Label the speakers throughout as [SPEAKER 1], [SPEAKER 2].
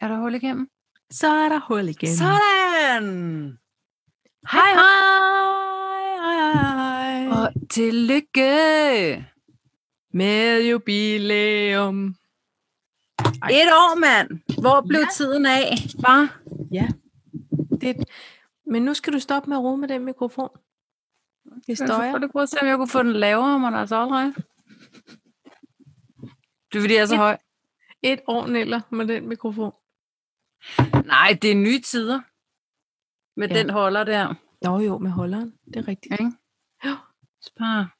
[SPEAKER 1] Er der hul igennem?
[SPEAKER 2] Så er der hul igen.
[SPEAKER 1] Sådan!
[SPEAKER 2] Hej, hej, hej, hej.
[SPEAKER 1] Og tillykke!
[SPEAKER 2] Med jubilæum. Ej.
[SPEAKER 1] Et år, mand! Hvor blev ja. tiden af? Hva?
[SPEAKER 2] Det. Men nu skal du stoppe med at rode med den mikrofon. Det støjer.
[SPEAKER 1] Jeg prøve at se, om jeg kunne få den lavere, men altså aldrig. Det er fordi, jeg er så høj.
[SPEAKER 2] Et år eller med den mikrofon.
[SPEAKER 1] Nej, det er nye tider. Med
[SPEAKER 2] Ja.
[SPEAKER 1] ja. den holder der.
[SPEAKER 2] Nå jo, med holderen. Det er rigtigt.
[SPEAKER 1] Ikke?
[SPEAKER 2] Jo.
[SPEAKER 1] Spar.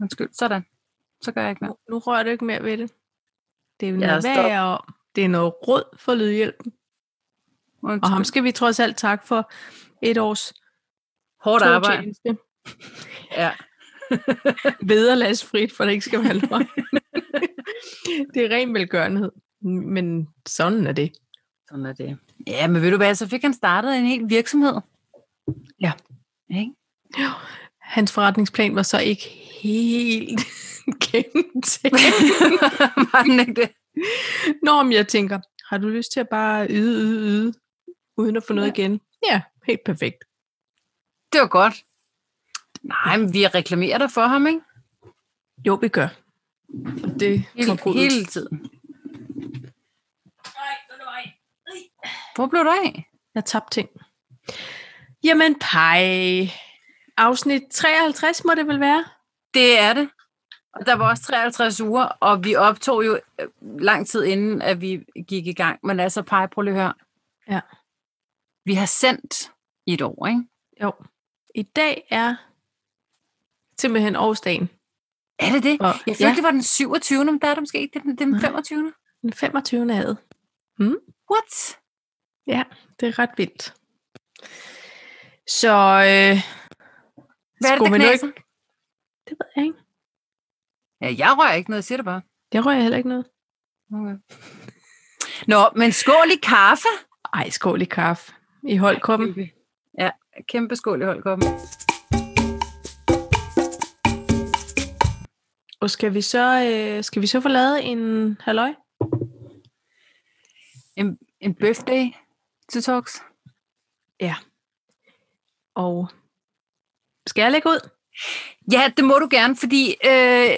[SPEAKER 1] Undskyld. Sådan. Så gør jeg ikke mere.
[SPEAKER 2] Nu, nu rører du ikke mere ved det. Det er jo
[SPEAKER 1] Ja,
[SPEAKER 2] noget
[SPEAKER 1] stop.
[SPEAKER 2] værre om. Det er noget råd for lydhjælpen. Og ham skal vi trods alt takke for et års
[SPEAKER 1] Hårdt
[SPEAKER 2] tro
[SPEAKER 1] arbejde.
[SPEAKER 2] tjeneste.
[SPEAKER 1] Ja.
[SPEAKER 2] Vederlagsfrit, for det ikke skal være løgn. det er ren velgørenhed. Men sådan er det.
[SPEAKER 1] Sådan er det. Ja, men ved du hvad, så fik han startet en hel virksomhed.
[SPEAKER 2] Ja.
[SPEAKER 1] Ikke?
[SPEAKER 2] Hans forretningsplan var så ikke helt gennemtænkt.
[SPEAKER 1] Var den ikke det?
[SPEAKER 2] Nå, men jeg tænker, har du lyst til at bare yde, yde, yde, uden at få noget
[SPEAKER 1] Ja.
[SPEAKER 2] igen? Ja, helt perfekt.
[SPEAKER 1] Det var godt. Nej, men vi reklamerer dig for ham, ikke?
[SPEAKER 2] Jo, vi gør. Og Det
[SPEAKER 1] Hele,
[SPEAKER 2] kom
[SPEAKER 1] hele tiden. Hvor blev du af?
[SPEAKER 2] Jeg tabte ting. Jamen, pej. Afsnit 53 må det vel være?
[SPEAKER 1] Det er det. Og der var også 53 uger, og vi optog jo øh, lang tid inden, at vi gik i gang. Men altså, pej, prøv lige at høre.
[SPEAKER 2] Ja.
[SPEAKER 1] Vi har sendt i et år, ikke?
[SPEAKER 2] Jo. I dag er simpelthen årsdagen.
[SPEAKER 1] Er det det?
[SPEAKER 2] Og,
[SPEAKER 1] Jeg følte,
[SPEAKER 2] ja,
[SPEAKER 1] ja. det var den 27. Men der er det måske ikke. Det er den, det er den
[SPEAKER 2] Nej.
[SPEAKER 1] 25.
[SPEAKER 2] den 25. ad.
[SPEAKER 1] What?
[SPEAKER 2] Det er ret vildt. Så øh,
[SPEAKER 1] Hvad er det,
[SPEAKER 2] skulle
[SPEAKER 1] der
[SPEAKER 2] man nu
[SPEAKER 1] knaser?
[SPEAKER 2] ikke- Det ved jeg ikke.
[SPEAKER 1] Ja, jeg rører ikke noget, jeg siger det bare.
[SPEAKER 2] Jeg rører heller ikke noget.
[SPEAKER 1] Okay. Nå, men skål i kaffe.
[SPEAKER 2] Ej, skål i kaffe. I holdkoppen.
[SPEAKER 1] Ja, kæmpe skål i holdkoppen.
[SPEAKER 2] Og skal vi så, øh, skal vi så få lavet en halløj?
[SPEAKER 1] En birthday detox.
[SPEAKER 2] Og skal jeg lægge ud?
[SPEAKER 1] Ja, det må du gerne, fordi øh,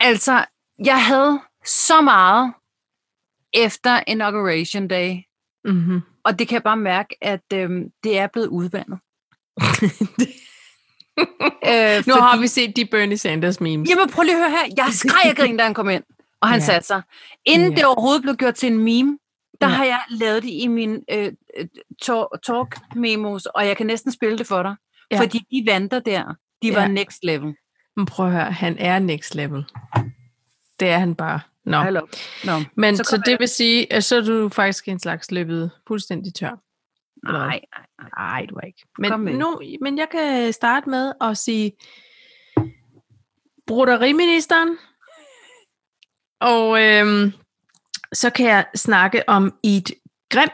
[SPEAKER 1] altså, jeg havde så meget efter Inauguration Day,
[SPEAKER 2] Mm-hmm.
[SPEAKER 1] og det kan jeg bare mærke, at øh, det er blevet udvandet. Øh,
[SPEAKER 2] nu har vi set de Bernie Sanders memes.
[SPEAKER 1] Jamen prøv lige at høre her. Jeg skreg og grin, da han kom ind, og han
[SPEAKER 2] Ja.
[SPEAKER 1] ja. satte sig. Inden
[SPEAKER 2] Ja.
[SPEAKER 1] ja. det overhovedet blev gjort til en meme, der
[SPEAKER 2] Ja.
[SPEAKER 1] ja. har jeg lavet det i min øh, øh, tor- talk-memos, og jeg kan næsten spille det for dig.
[SPEAKER 2] Ja.
[SPEAKER 1] Ja. Fordi de vanter der, de ja. var
[SPEAKER 2] Ja.
[SPEAKER 1] next level.
[SPEAKER 2] Men prøv at høre, han er next level. Det er han bare. Nå.
[SPEAKER 1] Hallo. Nå.
[SPEAKER 2] Men så,
[SPEAKER 1] Så
[SPEAKER 2] så
[SPEAKER 1] kommer
[SPEAKER 2] det vil sige, at så er du faktisk en slags løbet fuldstændig tør. Eller hvad?
[SPEAKER 1] Nej, nej.
[SPEAKER 2] Nej, du er ikke.
[SPEAKER 1] Kom med
[SPEAKER 2] Men,
[SPEAKER 1] det.
[SPEAKER 2] nu, men jeg kan starte med at sige broderiministeren. Og øhm, så kan jeg snakke om et grim.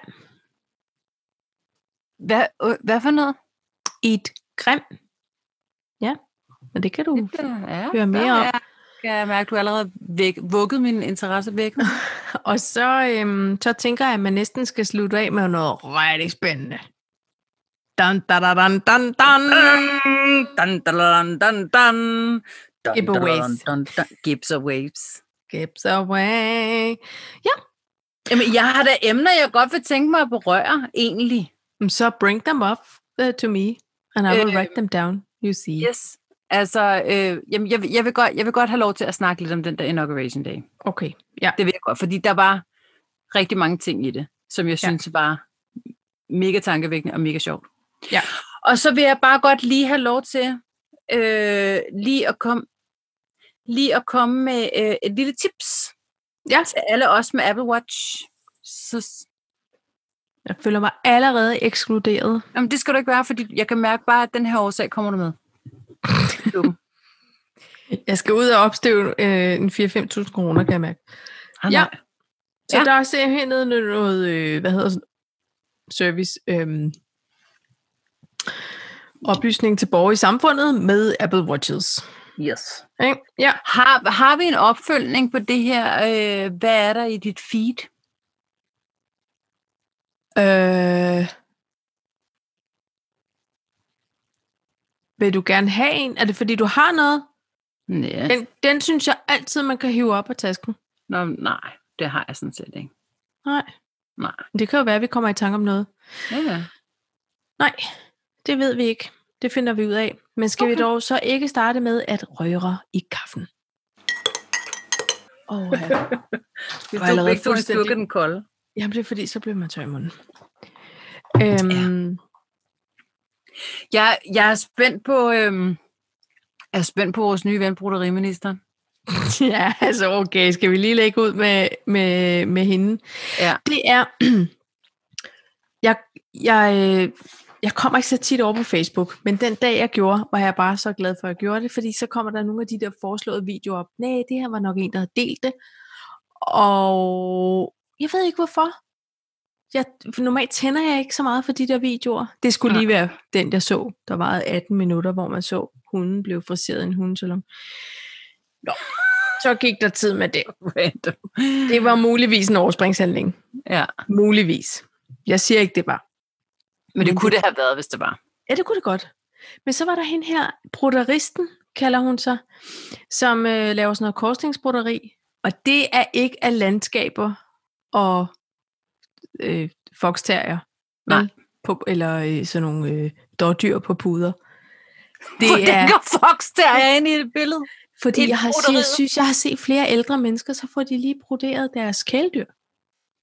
[SPEAKER 1] Hvad, øh, hvad for noget?
[SPEAKER 2] Et grim. Ja, men det kan du.
[SPEAKER 1] Det, ja,
[SPEAKER 2] Hør mere om.
[SPEAKER 1] Jeg kan jeg mærke, at du allerede væk, vugget min interesse væk.
[SPEAKER 2] Og så, øhm, så tænker jeg, at man næsten skal slutte af med noget rigtig spændende. Dun, dun, dun, dun, dun, dun.
[SPEAKER 1] Dun, dun, dun, dun, dun. Dun,
[SPEAKER 2] Giveaways.
[SPEAKER 1] dun, dun, dun. Giveaways.
[SPEAKER 2] Skips away.
[SPEAKER 1] Jamen, jeg har da emner, jeg godt vil tænke mig at berøre, egentlig.
[SPEAKER 2] Mm, Så bring them up uh, to me, and I will
[SPEAKER 1] Øh,
[SPEAKER 2] write them down, you see.
[SPEAKER 1] Yes. Altså, øh, jamen, jeg, vil- jeg, vil godt, jeg vil godt have lov til at snakke lidt om den der Inauguration Day.
[SPEAKER 2] Okay, ja.
[SPEAKER 1] Det vil jeg godt, fordi der var rigtig mange ting i det, som jeg
[SPEAKER 2] Ja.
[SPEAKER 1] synes var mega tankevækkende og mega sjovt.
[SPEAKER 2] Ja.
[SPEAKER 1] Og så vil jeg bare godt lige have lov til øh, lige at komme lige at komme med øh, et lille tips
[SPEAKER 2] Ja.
[SPEAKER 1] til alle os med Apple Watch. Så,
[SPEAKER 2] Jeg føler mig allerede ekskluderet.
[SPEAKER 1] Jamen, det skal du ikke være, fordi jeg kan mærke bare, at den her årsag kommer du med. Dum.
[SPEAKER 2] Jeg skal ud og opstøve øh, en 4-5.000 kroner, kan jeg mærke.
[SPEAKER 1] Ah,
[SPEAKER 2] Ja.
[SPEAKER 1] nej.
[SPEAKER 2] Så ja.
[SPEAKER 1] Ja.
[SPEAKER 2] der er simpelthen noget, noget øh, hvad hedder sådan, service, øhm, oplysning til borgere i samfundet med Apple Watches.
[SPEAKER 1] Yes.
[SPEAKER 2] Ikke? Ja,
[SPEAKER 1] Har, har vi en opfølgning på det her? Øh, hvad er der i dit feed?
[SPEAKER 2] Øh, vil du gerne have en? Er det fordi, du har noget?
[SPEAKER 1] Ja.
[SPEAKER 2] Den, den synes jeg altid, man kan hive op af tasken.
[SPEAKER 1] Nå, nej, det har jeg sådan set ikke.
[SPEAKER 2] Nej.
[SPEAKER 1] Nej.
[SPEAKER 2] Det kan jo være, at vi kommer i tanke om noget.
[SPEAKER 1] Ja, ja.
[SPEAKER 2] Nej, det ved vi ikke. Det finder vi ud af. Men skal okay. vi
[SPEAKER 1] Okay.
[SPEAKER 2] dog så ikke starte med at røre i kaffen? Åh, oh, ja.
[SPEAKER 1] Vi
[SPEAKER 2] Og
[SPEAKER 1] tog
[SPEAKER 2] allerede
[SPEAKER 1] begge to en
[SPEAKER 2] fuldstændig-
[SPEAKER 1] slukke den kolde.
[SPEAKER 2] Jamen, det er fordi, så bliver man tør i munden. Øhm,
[SPEAKER 1] Jeg, jeg er spændt på... Øhm, jeg er spændt på vores nye ven, broderiministeren.
[SPEAKER 2] ja. ja, altså okay, skal vi lige lægge ud med, med, med hende?
[SPEAKER 1] Ja.
[SPEAKER 2] Det er... jeg, jeg, øh, jeg kommer ikke så tit over på Facebook, men den dag, jeg gjorde, var jeg bare så glad for, at jeg gjorde det, fordi så kommer der nogle af de der foreslåede videoer op. Nej, det her var nok en, der havde delt det. Og jeg ved ikke, hvorfor. Jeg, for normalt tænder jeg ikke så meget for de der videoer. Det skulle
[SPEAKER 1] Nej.
[SPEAKER 2] lige være den, jeg så. Der varede 18 minutter, hvor man så, hunden blev friseret i en hundesalon. Nå, så gik der tid med det.
[SPEAKER 1] Random.
[SPEAKER 2] Det var muligvis en overspringshandling.
[SPEAKER 1] Ja,
[SPEAKER 2] Muligvis. Jeg siger ikke, det var.
[SPEAKER 1] men det
[SPEAKER 2] Men
[SPEAKER 1] kunne det have været, hvis det var.
[SPEAKER 2] Ja, det kunne det godt. Men så var der hende her, broderisten, kalder hun sig, som øh, laver sådan noget korsningsbroderi. Og det er ikke af landskaber og øh, foxterrier.
[SPEAKER 1] Nej.
[SPEAKER 2] vel? På, eller øh, sådan nogle øh, dårdyr på puder.
[SPEAKER 1] Det er... går Fox der er inde i det billede?
[SPEAKER 2] fordi
[SPEAKER 1] ind
[SPEAKER 2] jeg,
[SPEAKER 1] i
[SPEAKER 2] har set, jeg
[SPEAKER 1] broderiet?
[SPEAKER 2] synes, jeg har set flere ældre mennesker, så får de lige broderet deres kæledyr.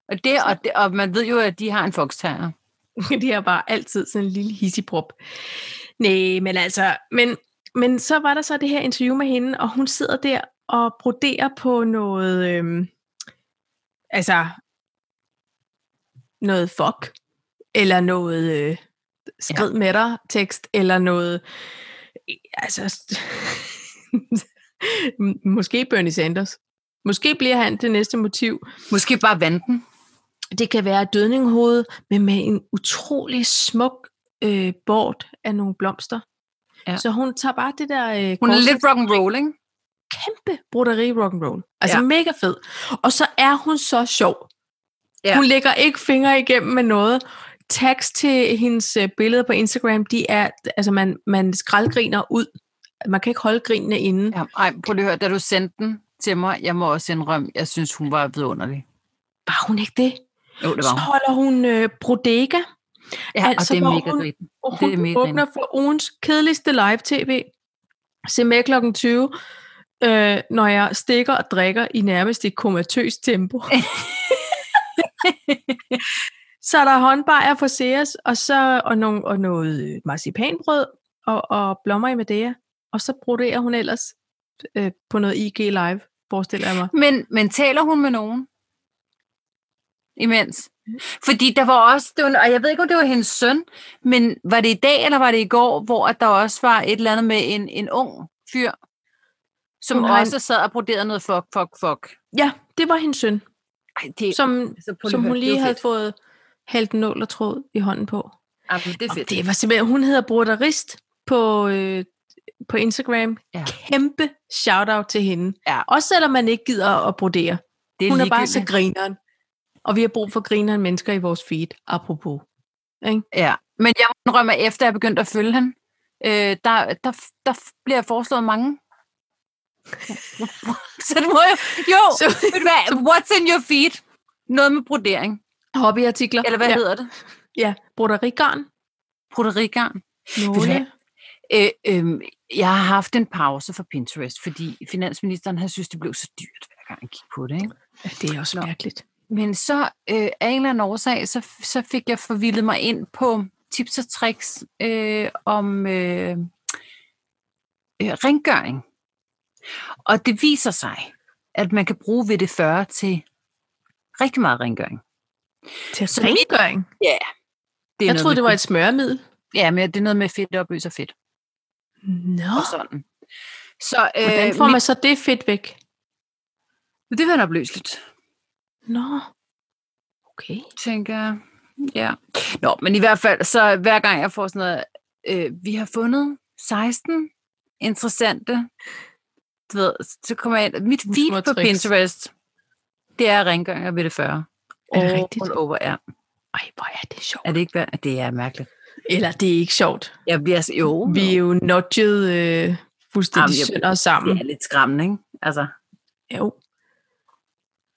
[SPEAKER 1] Og, det, og, det, og man ved jo, at de har en foxterrier.
[SPEAKER 2] de har bare altid sådan en lille hissiprop. Nej, men altså, men, men så var der så det her interview med hende, og hun sidder der og broderer på noget, øhm, altså, noget fuck, eller noget øh, skrid med dig tekst, eller noget, øh, altså, måske Bernie Sanders. Måske bliver han det næste motiv.
[SPEAKER 1] Måske bare vanden.
[SPEAKER 2] Det kan være dødninghoved, men med en utrolig smuk øh, bord af nogle blomster. Ja.
[SPEAKER 1] Ja.
[SPEAKER 2] Så hun tager bare det der øh,
[SPEAKER 1] Hun er
[SPEAKER 2] kors-
[SPEAKER 1] lidt rock'n'roll, ikke?
[SPEAKER 2] kæmpe broderi rock'n'roll. Altså ja.
[SPEAKER 1] Ja.
[SPEAKER 2] mega fed. Og så er hun så sjov. Ja.
[SPEAKER 1] Ja.
[SPEAKER 2] Hun lægger ikke fingre igennem med noget. Tags til hendes øh, billeder på Instagram, de er, altså man, man skraldgriner ud. Man kan ikke holde grinene inde.
[SPEAKER 1] Ja, ej, prøv lige at høre, da du sendte den til mig, jeg må også indrømme, jeg synes, hun var vidunderlig.
[SPEAKER 2] Var hun ikke det?
[SPEAKER 1] Jo, det var
[SPEAKER 2] Så
[SPEAKER 1] hun.
[SPEAKER 2] holder hun øh, brodega,
[SPEAKER 1] Ja, altså,
[SPEAKER 2] altså,
[SPEAKER 1] og det er
[SPEAKER 2] hvor
[SPEAKER 1] mega
[SPEAKER 2] hun-
[SPEAKER 1] rigtigt.
[SPEAKER 2] Og
[SPEAKER 1] Det er
[SPEAKER 2] hun
[SPEAKER 1] mega
[SPEAKER 2] åbner for ugens kedeligste live-tv. Se med kl. 20, øh, når jeg stikker og drikker i nærmest et komatøst tempo. så er der håndbajer for Sears, og, så, og, nogle, og noget øh, marcipanbrød og, og blommer i Madea. Og så broderer hun ellers øh, på noget IG Live, forestiller jeg mig.
[SPEAKER 1] Men, men taler hun med nogen? Imens? Fordi der var også, det var, og jeg ved ikke, om det var hendes søn, men var det i dag, eller var det i går, hvor at der også var et eller andet med en, en ung fyr, som
[SPEAKER 2] Hun har en-
[SPEAKER 1] også sad og broderede noget fuck, fuck, fuck.
[SPEAKER 2] Ja, det var hendes søn,
[SPEAKER 1] Ej, det,
[SPEAKER 2] som,
[SPEAKER 1] altså, prøv at
[SPEAKER 2] som
[SPEAKER 1] høre,
[SPEAKER 2] hun
[SPEAKER 1] det er jo
[SPEAKER 2] lige havde
[SPEAKER 1] fedt.
[SPEAKER 2] fået hældt nål og tråd i hånden på.
[SPEAKER 1] Jamen, det er fedt.
[SPEAKER 2] Og det var simpelthen, hun hedder Broderist på, øh, på Instagram. Ja.
[SPEAKER 1] Ja.
[SPEAKER 2] Kæmpe shout-out til hende.
[SPEAKER 1] Ja.
[SPEAKER 2] Også selvom man ikke gider at brodere.
[SPEAKER 1] det
[SPEAKER 2] hun er bare så
[SPEAKER 1] ligegyldigt.
[SPEAKER 2] grineren. Og vi har brug for grineren mennesker i vores feed, apropos.
[SPEAKER 1] Ja, men jeg må indrømme, at efter jeg begyndte at følge han, øh, der, der, der bliver foreslået mange. så det må jeg... Jo,
[SPEAKER 2] Så-
[SPEAKER 1] så, ved du hvad, what's in your feed? Noget med brodering.
[SPEAKER 2] Hobbyartikler.
[SPEAKER 1] Eller hvad
[SPEAKER 2] ja.
[SPEAKER 1] ja. hedder det?
[SPEAKER 2] Ja, broderigarn.
[SPEAKER 1] Broderigarn. du
[SPEAKER 2] Nåle.
[SPEAKER 1] have- Øh, øh, jeg har haft en pause fra Pinterest, fordi finansministeren har synes, det blev så dyrt, hver gang jeg gik på det. Ikke?
[SPEAKER 2] Ja, det er også
[SPEAKER 1] Nå.
[SPEAKER 2] mærkeligt.
[SPEAKER 1] Men så øh, af en eller anden årsag, så, så fik jeg forvildet mig ind på tips og tricks øh, om øh, øh, rengøring. Og det viser sig, at man kan bruge ved det 40 til rigtig meget rengøring.
[SPEAKER 2] Til
[SPEAKER 1] Så
[SPEAKER 2] rengøring.
[SPEAKER 1] Det er
[SPEAKER 2] Jeg
[SPEAKER 1] noget
[SPEAKER 2] troede,
[SPEAKER 1] med
[SPEAKER 2] det var
[SPEAKER 1] fedt.
[SPEAKER 2] et smøremiddel.
[SPEAKER 1] Ja, men det er noget med fedt opløser fedt
[SPEAKER 2] Nå,
[SPEAKER 1] og sådan. Så øh,
[SPEAKER 2] hvordan får man så det fedt væk?
[SPEAKER 1] mit, det var opløseligt.
[SPEAKER 2] Nå, okay.
[SPEAKER 1] tænker jeg. Ja. Nå, men i hvert fald, så hver gang jeg får sådan noget, øh, vi har fundet 16 interessante, du ved, så kommer jeg ind, mit
[SPEAKER 2] Små
[SPEAKER 1] feed på
[SPEAKER 2] tricks.
[SPEAKER 1] Pinterest, det er rengøringer ved det 40.
[SPEAKER 2] Er det
[SPEAKER 1] All
[SPEAKER 2] rigtigt?
[SPEAKER 1] over, ja.
[SPEAKER 2] Ej, hvor er det sjovt.
[SPEAKER 1] Er det ikke værd? Det er mærkeligt.
[SPEAKER 2] Eller det er ikke sjovt.
[SPEAKER 1] Jeg bliver så, jo,
[SPEAKER 2] Vi er jo nudget øh, fuldstændig
[SPEAKER 1] Uh, Jamen, jeg-
[SPEAKER 2] sønder sammen.
[SPEAKER 1] det er lidt skræmmende, ikke? Altså,
[SPEAKER 2] Jo.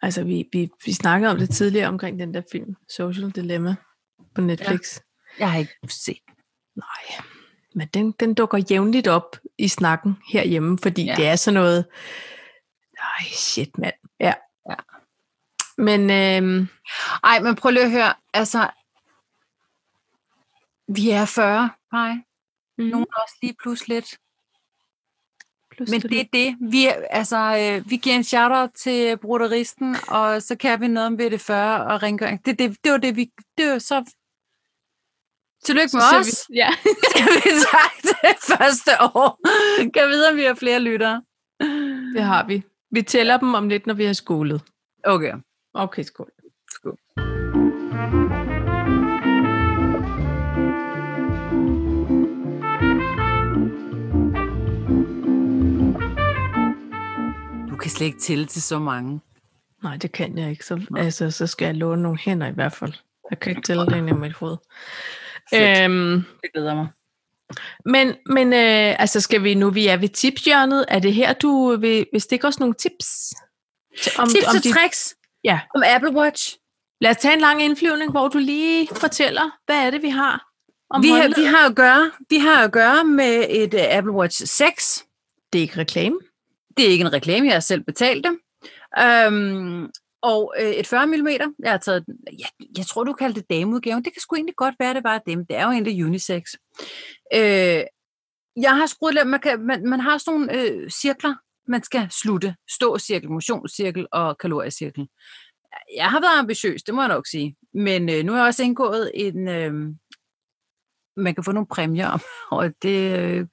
[SPEAKER 2] Altså, vi, vi, vi snakkede om det tidligere omkring den der film, Social Dilemma, på Netflix. Ja.
[SPEAKER 1] jeg har ikke set.
[SPEAKER 2] Nej, men den, den dukker jævnligt op i snakken herhjemme, fordi
[SPEAKER 1] Ja.
[SPEAKER 2] ja. det er sådan noget... Ej, shit, mand. Ja.
[SPEAKER 1] Ja.
[SPEAKER 2] Men øhm,
[SPEAKER 1] Ej, men prøv lige at høre. Altså, vi er 40, nej.
[SPEAKER 2] nogen
[SPEAKER 1] Nogen også lige pludselig lidt.
[SPEAKER 2] plus
[SPEAKER 1] Men det er det. Vi, er- altså, øh, vi giver en shout-out til broderisten, og så kan vi noget om VD40 og rengøring. Det, det, det var det, vi... Det var så... Tillykke med os,
[SPEAKER 2] Vi, ja.
[SPEAKER 1] kan vi sagt det første år. Kan vi vide, om vi har flere lyttere?
[SPEAKER 2] det har vi. Vi tæller dem om lidt, når vi har skolet.
[SPEAKER 1] Okay.
[SPEAKER 2] Okay, skål.
[SPEAKER 1] Skål. Du kan slet ikke tælle til så mange.
[SPEAKER 2] Nej, det kan jeg ikke. Så,
[SPEAKER 1] Nå.
[SPEAKER 2] altså, så skal jeg låne nogle hænder i hvert fald. Jeg kan ikke tælle det ind i mit hoved.
[SPEAKER 1] Fedt.
[SPEAKER 2] Øhm,
[SPEAKER 1] Det glæder mig.
[SPEAKER 2] men men øh, altså, skal vi nu, vi er ved tipshjørnet, er det her, du vil, vil stikke os nogle tips? Til- Om,
[SPEAKER 1] Tips og
[SPEAKER 2] dit-
[SPEAKER 1] tricks
[SPEAKER 2] Ja.
[SPEAKER 1] om Apple Watch.
[SPEAKER 2] Lad os tage en lang indflyvning, hvor du lige fortæller, hvad er det, vi har om
[SPEAKER 1] vi, har,
[SPEAKER 2] håndled?
[SPEAKER 1] vi, har at gøre, vi har at gøre med et øh, Apple Watch 6.
[SPEAKER 2] Det er ikke reklame.
[SPEAKER 1] Det er ikke en reklame, jeg har selv betalt det. Øhm, og øh, et 40 mm, jeg har taget, den- jeg, jeg tror, du kaldte det dameudgaven. Det kan sgu egentlig godt være, det var dem. Det er jo egentlig unisex. Øh, jeg har skruet lidt, man, kan, man, man har sådan nogle øh, cirkler, man skal slutte. Ståcirkel, motionscirkel og kaloriecirkel. Jeg har været ambitiøs, det må jeg nok sige. Men øh, nu har jeg også indgået en... Øh, man kan få nogle præmier, og det... Øh,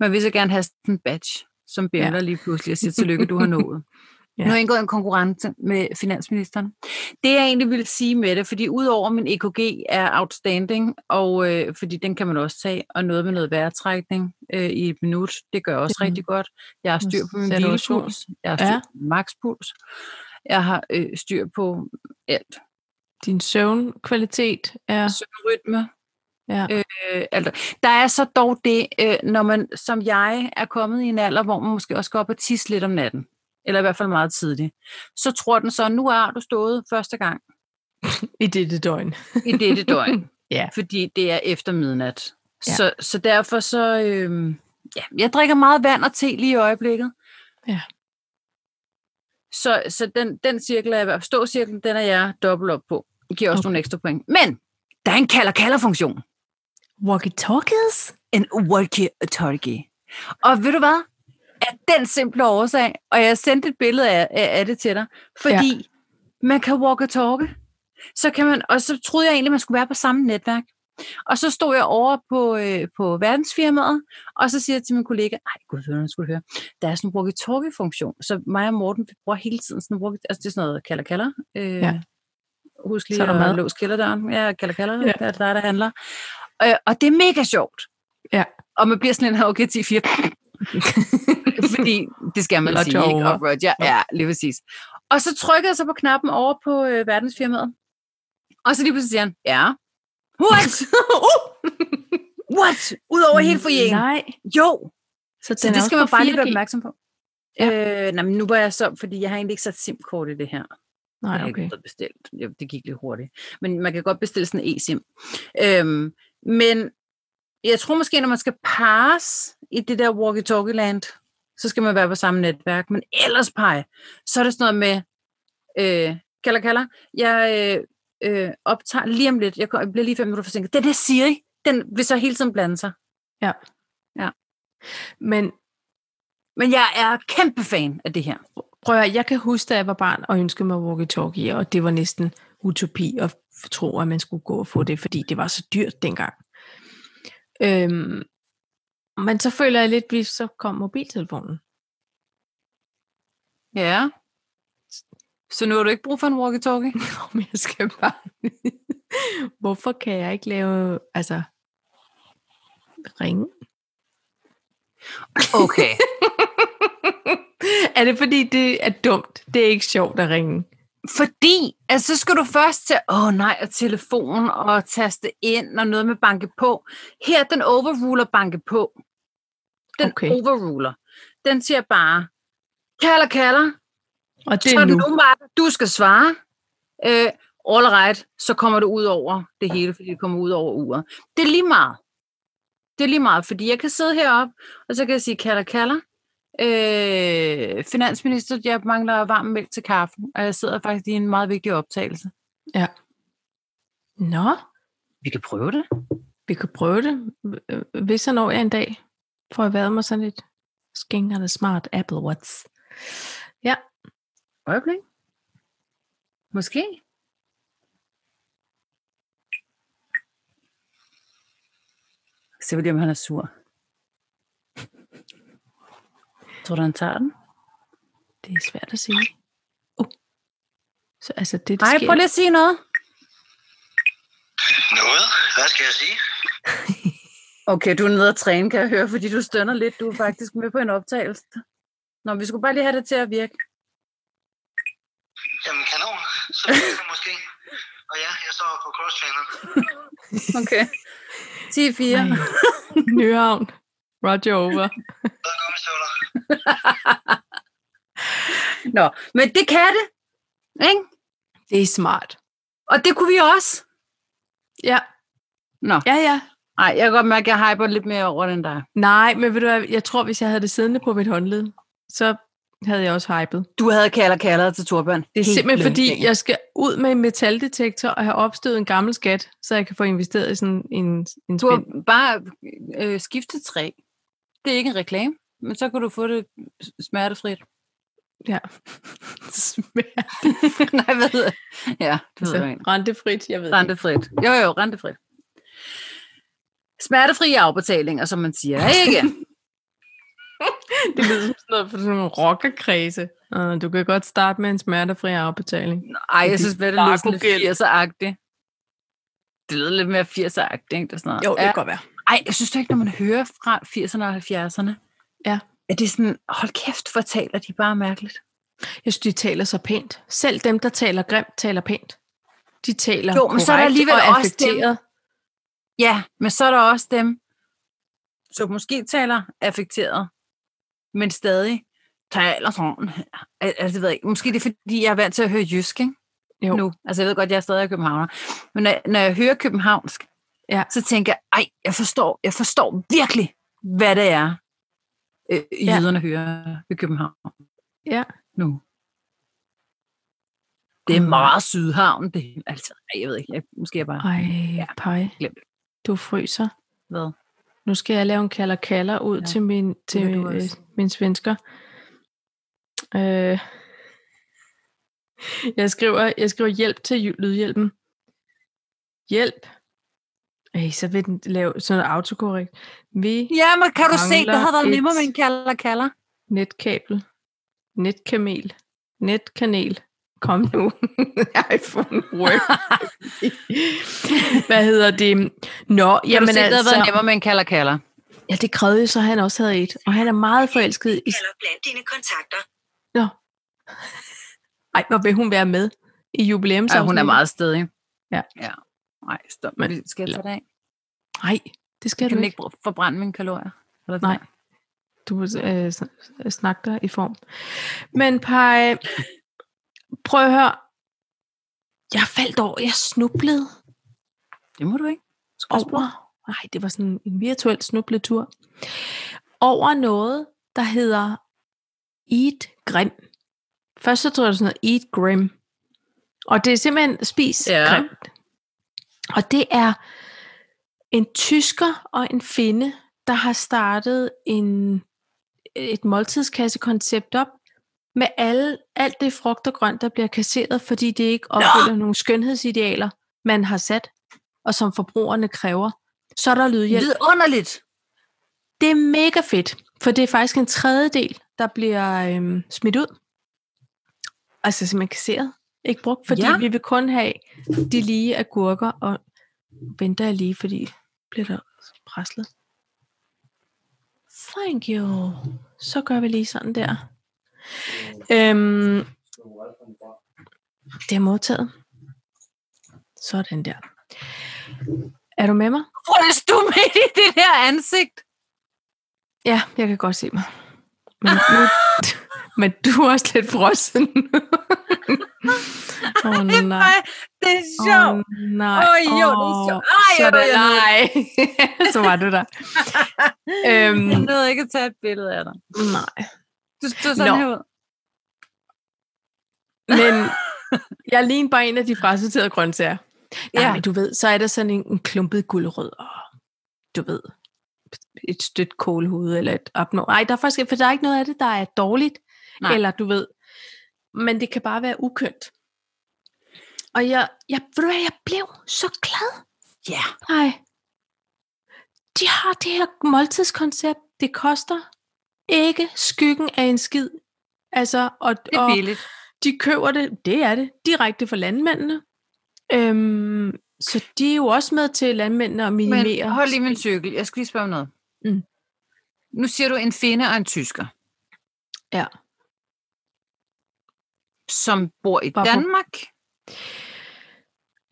[SPEAKER 1] man vil så gerne have sådan en badge, som bænder ja. lige pludselig og siger, tillykke, du har nået. ja.
[SPEAKER 2] Ja.
[SPEAKER 1] Nu har jeg indgået en konkurrence med finansministeren. Det jeg egentlig ville sige med det, fordi udover min EKG er outstanding, og øh, fordi den kan man også tage, og noget med noget vejrtrækning øh, i et minut, det gør også
[SPEAKER 2] Mhm.
[SPEAKER 1] rigtig godt. Jeg har
[SPEAKER 2] Nu
[SPEAKER 1] styr på min
[SPEAKER 2] ser du også ud.
[SPEAKER 1] hvilepuls, jeg har styr
[SPEAKER 2] Ja.
[SPEAKER 1] på min makspuls, jeg har øh, styr på alt.
[SPEAKER 2] Din søvnkvalitet er...
[SPEAKER 1] Søvnrytme,
[SPEAKER 2] Ja.
[SPEAKER 1] øh, altså, der er så dog det, øh, når man som jeg er kommet i en alder, hvor man måske også går op og tisse lidt om natten, eller i hvert fald meget tidligt, så tror den så, nu har du stået første gang
[SPEAKER 2] I dette døgn.
[SPEAKER 1] i dette døgn,
[SPEAKER 2] Ja.
[SPEAKER 1] fordi det er efter midnat.
[SPEAKER 2] Ja.
[SPEAKER 1] Så, så derfor så, øh, ja, jeg drikker meget vand og te lige i øjeblikket.
[SPEAKER 2] Ja.
[SPEAKER 1] Så, så den, den cirkel, er, i hvert fald- ståcirklen, den er jeg dobbelt op på. Det giver også okay.
[SPEAKER 2] Okay.
[SPEAKER 1] nogle ekstra point. Men der er en kalder-kalder-funktion.
[SPEAKER 2] Walkie-talkies?
[SPEAKER 1] en walkie-talkie. Og ved du hvad? Af den simple årsag, og jeg sendte et billede af, af af det til dig, fordi ja. man kan walkie-talkie. Så kan man, og så troede jeg egentlig, man skulle være på samme netværk. Og så stod jeg over på, øh, på verdensfirmaet, og så siger jeg til min kollega, ej gud, hvad man skulle høre, der er sådan en walkie-talkie-funktion, så mig og Morten vi bruger hele tiden sådan en walkie altså det er sådan noget kalder-kalder. Øh,
[SPEAKER 2] Ja.
[SPEAKER 1] Husk
[SPEAKER 2] Så
[SPEAKER 1] lige
[SPEAKER 2] er der
[SPEAKER 1] at
[SPEAKER 2] mad.
[SPEAKER 1] låse kælderdøren. Ja, kalder-kalder, ja.
[SPEAKER 2] Ja.
[SPEAKER 1] det er dig, der handler. Øh, og det er mega sjovt.
[SPEAKER 2] Ja.
[SPEAKER 1] Og man bliver sådan en her, okay, 10-4. Fordi det skal man
[SPEAKER 2] Roger
[SPEAKER 1] sige, ikke?
[SPEAKER 2] over.
[SPEAKER 1] Og Roger, ja, lige præcis. Og så trykker jeg så på knappen over på øh, verdensfirmaet. Og så lige pludselig siger han, ja. What?
[SPEAKER 2] uh!
[SPEAKER 1] What? Udover hele foyeren.
[SPEAKER 2] Nej.
[SPEAKER 1] Jo.
[SPEAKER 2] den
[SPEAKER 1] Så
[SPEAKER 2] er
[SPEAKER 1] det
[SPEAKER 2] også
[SPEAKER 1] skal man
[SPEAKER 2] på
[SPEAKER 1] bare lige være
[SPEAKER 2] 4G.
[SPEAKER 1] opmærksom på.
[SPEAKER 2] Ja.
[SPEAKER 1] Øh, nej, men nu var jeg så, fordi jeg har egentlig ikke sat SIM-kort i det her.
[SPEAKER 2] Nej,
[SPEAKER 1] Jeg har ikke
[SPEAKER 2] okay.
[SPEAKER 1] fået bestilt. Jo, det gik lidt hurtigt. Men man kan godt bestille sådan en e-sim. Øhm, men jeg tror måske, når man skal passe i det der walkie-talkie-land, så skal man være på samme netværk. Men ellers, pej, så er det sådan noget med, øh, kalder, kalder, jeg øh, øh, optager lige om lidt, jeg, kom, jeg bliver lige fem minutter forsinket. Den her Siri, den vil så hele tiden blande sig.
[SPEAKER 2] Men
[SPEAKER 1] Men jeg er kæmpe fan af det her.
[SPEAKER 2] prøv at høre, jeg kan huske, da jeg var barn og ønskede mig walkie-talkie, og det var næsten utopi at tro, at man skulle gå og få det, fordi det var så dyrt dengang. Øhm, men så føler jeg lidt, at så kom mobiltelefonen.
[SPEAKER 1] Ja. Så nu har du ikke brug for en walkie-talkie?
[SPEAKER 2] Nå, men jeg skal bare vide, hvorfor kan jeg ikke lave, altså, ringe?
[SPEAKER 1] Okay.
[SPEAKER 2] er det fordi, det er dumt? Det er ikke sjovt at ringe.
[SPEAKER 1] Fordi altså, så skal du først til, åh oh, nej, og telefon og taste ind og noget med banke på. Her, den overruler banke på. Den
[SPEAKER 2] Okay.
[SPEAKER 1] okay. overruler. Den siger bare, kalder, kalder,
[SPEAKER 2] Og det
[SPEAKER 1] så
[SPEAKER 2] er
[SPEAKER 1] er det
[SPEAKER 2] nu.
[SPEAKER 1] umiddelbart, at du skal svare. Øh, all right, så kommer det ud over det hele, fordi det kommer ud over uret. Det er lige meget. Det er lige meget, fordi jeg kan sidde heroppe, og så kan jeg sige, kalder, kalder. Øh, finansminister, jeg mangler varm mælk til kaffen, og jeg sidder faktisk i en meget vigtig optagelse.
[SPEAKER 2] Nå,
[SPEAKER 1] Vi kan prøve det.
[SPEAKER 2] vi kan prøve det. Øh, Hvis og når jeg en dag får jeg været mig sådan et skængende smart Apple Watch.
[SPEAKER 1] Øjeblik. Måske. Se, lige, om han er sur. Tror du, han tager den?
[SPEAKER 2] Det er svært at sige. Uh. Så altså det, der
[SPEAKER 1] Nej,
[SPEAKER 2] sker...
[SPEAKER 1] prøv lige at sige noget.
[SPEAKER 3] Noget? Hvad skal jeg sige?
[SPEAKER 1] Okay, du er nede at træne, kan jeg høre, fordi du stønner lidt. Du er faktisk med på en optagelse. Nå, vi skulle bare lige have det til at virke.
[SPEAKER 3] Jamen kanon, så det er måske. Og ja, jeg står på cross-channel.
[SPEAKER 1] Okay. 10-4.
[SPEAKER 2] Ej. Nyhavn. Roger over.
[SPEAKER 3] Bedre gummistøvler.
[SPEAKER 1] Nå, men det kan det. Ikke?
[SPEAKER 2] Det er smart.
[SPEAKER 1] Og det kunne vi også.
[SPEAKER 2] Ja.
[SPEAKER 1] Nå.
[SPEAKER 2] Ja, ja.
[SPEAKER 1] Nej, jeg kan godt mærke, at jeg hyper lidt mere over den der.
[SPEAKER 2] Nej, men ved du hvad, jeg tror, hvis jeg havde det siddende på mit håndled, så havde jeg også hypet.
[SPEAKER 1] Du havde kalder kalder til Torbjørn.
[SPEAKER 2] Det er simpelthen fordi, jeg skal ud med en metaldetektor og have opstødet en gammel skat, så jeg kan få investeret i sådan en, en
[SPEAKER 1] Du har
[SPEAKER 2] spil.
[SPEAKER 1] bare øh, skiftet træ. Det er ikke en reklame, men så kan du få det smertefrit.
[SPEAKER 2] Ja.
[SPEAKER 1] Nej, hvad hedder det? Ja, det hedder
[SPEAKER 2] altså,
[SPEAKER 1] en.
[SPEAKER 2] rentefrit, jeg ved det ikke.
[SPEAKER 1] Rentefrit. Jo, jo, rentefrit. Smertefri afbetalinger, som man siger. Ikke?
[SPEAKER 2] Det lyder som sådan noget for sådan nogle rockerkredse. Uh, du kan godt starte med en smertefri afbetaling.
[SPEAKER 1] Ej, jeg synes, hvad det lyder sådan lidt
[SPEAKER 2] Narkogæld.
[SPEAKER 1] 80'er-agtigt. Det lyder lidt mere 80'er-agtigt, ikke? Det er sådan noget. Ja.
[SPEAKER 2] godt være.
[SPEAKER 1] Ej, jeg synes du ikke, når man hører fra 80'erne og 70'erne,
[SPEAKER 2] Ja.
[SPEAKER 1] at det er sådan, hold kæft, hvor taler de bare mærkeligt.
[SPEAKER 2] Jeg synes, de taler så pænt. Selv dem, der taler grimt, taler pænt. De taler
[SPEAKER 1] Jo, men så er der
[SPEAKER 2] korrekt
[SPEAKER 1] alligevel
[SPEAKER 2] og
[SPEAKER 1] også dem-
[SPEAKER 2] affekteret.
[SPEAKER 1] Ja, men så er der også dem, som måske taler affekteret, men stadig taler sådan. Al- Altså, det ved jeg ikke. Måske det er, fordi jeg er vant til at høre jysk, ikke?
[SPEAKER 2] Jo.
[SPEAKER 1] Nu. Altså, jeg ved godt, jeg er stadig københavner. Men når, når jeg hører københavnsk,
[SPEAKER 2] Ja.
[SPEAKER 1] så tænker jeg, ej, jeg forstår, jeg forstår virkelig, hvad det er, øh,
[SPEAKER 2] Ja.
[SPEAKER 1] jøderne hører ved København
[SPEAKER 2] Ja.
[SPEAKER 1] nu. Det er
[SPEAKER 2] Mm.
[SPEAKER 1] meget Sydhavn, det er- altså, ej, jeg ved ikke, jeg, måske er jeg bare...
[SPEAKER 2] Ej,
[SPEAKER 1] Ja,
[SPEAKER 2] pej.
[SPEAKER 1] glem det.
[SPEAKER 2] Du fryser.
[SPEAKER 1] Hvad?
[SPEAKER 2] Nu skal jeg lave en kalder kalder ud ja,
[SPEAKER 1] Ja,
[SPEAKER 2] til min, til
[SPEAKER 1] kan du
[SPEAKER 2] øh,
[SPEAKER 1] også.
[SPEAKER 2] min svensker. Øh, jeg, skriver, jeg skriver hjælp til jy- lydhjælpen. Hjælp. Ej, så vil den lave sådan noget autokorrekt. Vi
[SPEAKER 1] Ja, men kan du se, det
[SPEAKER 2] Mangler
[SPEAKER 1] havde været
[SPEAKER 2] et-
[SPEAKER 1] nemmere med en kalder kalder.
[SPEAKER 2] Netkabel. Netkamel. Netkanel. Kom nu. iPhone Word. Hvad hedder det? Nå,
[SPEAKER 1] Jamen, kan du
[SPEAKER 2] jamen
[SPEAKER 1] se, det havde
[SPEAKER 2] altså.
[SPEAKER 1] været nemmere med en kalder kalder.
[SPEAKER 2] Ja, det krævede jo så, at han også havde et. Og han er meget forelsket i...
[SPEAKER 4] kalder blandt dine kontakter.
[SPEAKER 2] Ej, hvor vil hun være med i jubilæum?
[SPEAKER 1] Ja, hun er meget stedig.
[SPEAKER 2] Ja.
[SPEAKER 1] ja. Nej, stop.
[SPEAKER 2] Men-
[SPEAKER 1] Men, skal jeg tage det af?
[SPEAKER 2] Nej, det skal
[SPEAKER 1] Jeg
[SPEAKER 2] du
[SPEAKER 1] kan
[SPEAKER 2] ikke.
[SPEAKER 1] ikke br- forbrænde mine kalorier. Eller
[SPEAKER 2] Nej. Du øh, sn- snak dig i form. Men Paj, prøv at høre. Jeg faldt over, jeg snublede
[SPEAKER 1] Det må du ikke. Du skal også bruge-
[SPEAKER 2] over, nej, det var sådan en virtuel snubletur, over noget, der hedder Eat Grim. Først så tror jeg, det var sådan noget Eat Grim. Og det er simpelthen spis
[SPEAKER 1] Ja.
[SPEAKER 2] ja. grimt. Og det er en tysker og en finde, der har startet en, et måltidskassekoncept op, med alle, alt det frugt og grønt, der bliver kasseret, fordi det ikke opfylder nogle skønhedsidealer, man har sat, og som forbrugerne kræver. Så er der lydhjælp.
[SPEAKER 1] Vidunderligt.
[SPEAKER 2] Det er mega fedt, for det er faktisk en tredjedel, der bliver øhm, smidt ud. Altså simpelthen kasseret, ikke brugt, fordi ja.
[SPEAKER 1] Ja.
[SPEAKER 2] vi vil kun have de lige agurker, og nu venter jeg lige, fordi bliver der preslet. Thank you. Så gør vi lige sådan der. Øhm, Det er modtaget. Sådan der. Er du med mig?
[SPEAKER 1] Fryst du midt i det der ansigt?
[SPEAKER 2] Ja, jeg kan godt se mig. Men, nu, men du er også lidt frossen. Åh oh, nej.
[SPEAKER 1] Ej, det er
[SPEAKER 2] Åh
[SPEAKER 1] sjovt.
[SPEAKER 2] nej.
[SPEAKER 1] Åh, jo, det er
[SPEAKER 2] Åh,
[SPEAKER 1] sjovt. Ej,
[SPEAKER 2] så
[SPEAKER 1] jeg
[SPEAKER 2] er det,
[SPEAKER 1] nåede- jeg nåede-
[SPEAKER 2] nej. så var du der. øhm,
[SPEAKER 1] Jeg nåede ikke at tage et billede af dig.
[SPEAKER 2] nej.
[SPEAKER 1] Du stod sådan
[SPEAKER 2] Nå.
[SPEAKER 1] her ud.
[SPEAKER 2] Men jeg ligner bare en af de frasorterede grøntsager. Ja.
[SPEAKER 1] Ja.
[SPEAKER 2] Nej, men du ved, så er der sådan en, en klumpet gulerod, og du ved, et stødt kålhoved eller et opnå. Nej, der er faktisk, ikke- for der er ikke noget af det, der er dårligt,
[SPEAKER 1] Nej.
[SPEAKER 2] Nej. eller du ved. Men det kan bare være ukønt. Og jeg, jeg, ved du hvad, jeg blev så glad.
[SPEAKER 1] Ja.
[SPEAKER 2] Nej. De har det her måltidskoncept. Det koster ikke skyggen af en skid. Altså, og,
[SPEAKER 1] Det er
[SPEAKER 2] og
[SPEAKER 1] billigt.
[SPEAKER 2] de køber det, det er det, direkte fra landmændene. Øhm, så de er jo også med til landmændene at minimere.
[SPEAKER 1] Men hold lige min cykel. Jeg skal lige spørge om noget.
[SPEAKER 2] Mm.
[SPEAKER 1] Nu siger du en finne og en tysker.
[SPEAKER 2] Ja.
[SPEAKER 1] Som bor i
[SPEAKER 2] Hvorfor?
[SPEAKER 1] Danmark?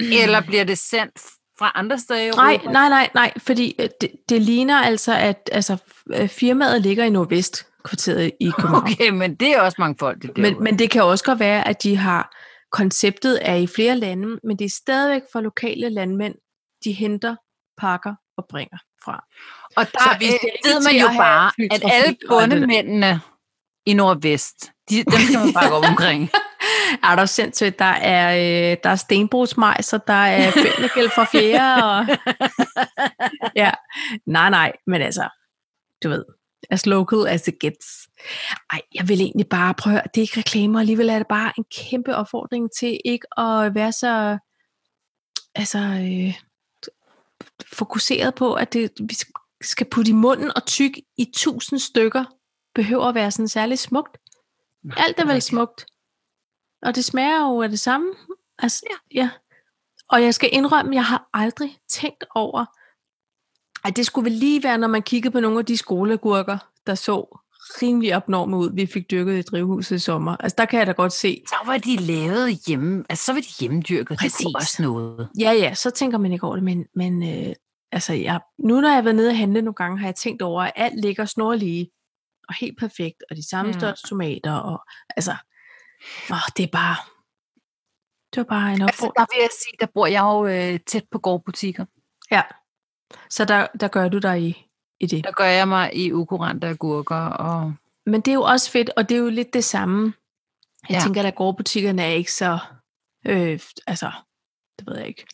[SPEAKER 1] Eller bliver det sendt fra andre steder i Europa?
[SPEAKER 2] Nej, nej, nej, nej, fordi øh, det, det ligner altså, at altså, øh, firmaet ligger i Nordvestkvarteret i København.
[SPEAKER 1] Okay, men det er også mangfoldigt derude.
[SPEAKER 2] Men, men det kan også godt være, at de har konceptet er i flere lande, men det er stadigvæk fra lokale landmænd, de henter pakker og bringer fra.
[SPEAKER 1] og der
[SPEAKER 2] så
[SPEAKER 1] øh,
[SPEAKER 2] vi skal ikke
[SPEAKER 1] ved man
[SPEAKER 2] til
[SPEAKER 1] jo
[SPEAKER 2] at have
[SPEAKER 1] bare, at
[SPEAKER 2] flytrafik
[SPEAKER 1] alle
[SPEAKER 2] og alt det der.
[SPEAKER 1] bundemændene i Nordvest, de, dem skal man bakke op omkring.
[SPEAKER 2] Er der sindssygt, der er, øh, der er stenbrugsmejser, der er bændegæld fra fjerde. Og... ja. Nej, nej, men altså, du ved, as local as it gets. Ej, jeg vil egentlig bare prøve, det er ikke reklamer, alligevel er det bare en kæmpe opfordring til ikke at være så, altså, øh, fokuseret på, at det, vi skal putte i munden og tyk i tusind stykker, behøver at være sådan særlig smukt. Alt er vel smukt. Og det smager jo af det samme. Altså, ja. ja. Og jeg skal indrømme, at jeg har aldrig tænkt over, at det skulle vel lige være, når man kiggede på nogle af de skolegurker, der så rimelig abnorme ud, vi fik dyrket i drivhuset i sommer. Altså, der kan jeg da godt se.
[SPEAKER 1] Så var de lavet hjemme, altså så var de hjemmedyrket, det kunne
[SPEAKER 2] Præcis.
[SPEAKER 1] også noget.
[SPEAKER 2] Ja, ja, så tænker man ikke over det, men, men øh, altså, jeg, nu når jeg har været nede og handle nogle gange, har jeg tænkt over, at alt ligger snorlige og helt perfekt, og de samme
[SPEAKER 1] Ja.
[SPEAKER 2] ja. størrelse tomater, og altså, åh, det er bare, det var bare en
[SPEAKER 1] Altså,
[SPEAKER 2] opfordring.
[SPEAKER 1] der vil jeg sige, der bor jeg jo øh, tæt på gårdbutikker.
[SPEAKER 2] Ja. Så der, der gør du dig i, i det.
[SPEAKER 1] Der gør jeg mig i ukurante agurker. Og...
[SPEAKER 2] Men det er jo også fedt, og det er jo lidt det samme. Jeg
[SPEAKER 1] Ja.
[SPEAKER 2] ja. tænker, at gårdbutikkerne er ikke så, øh, altså, det ved jeg ikke,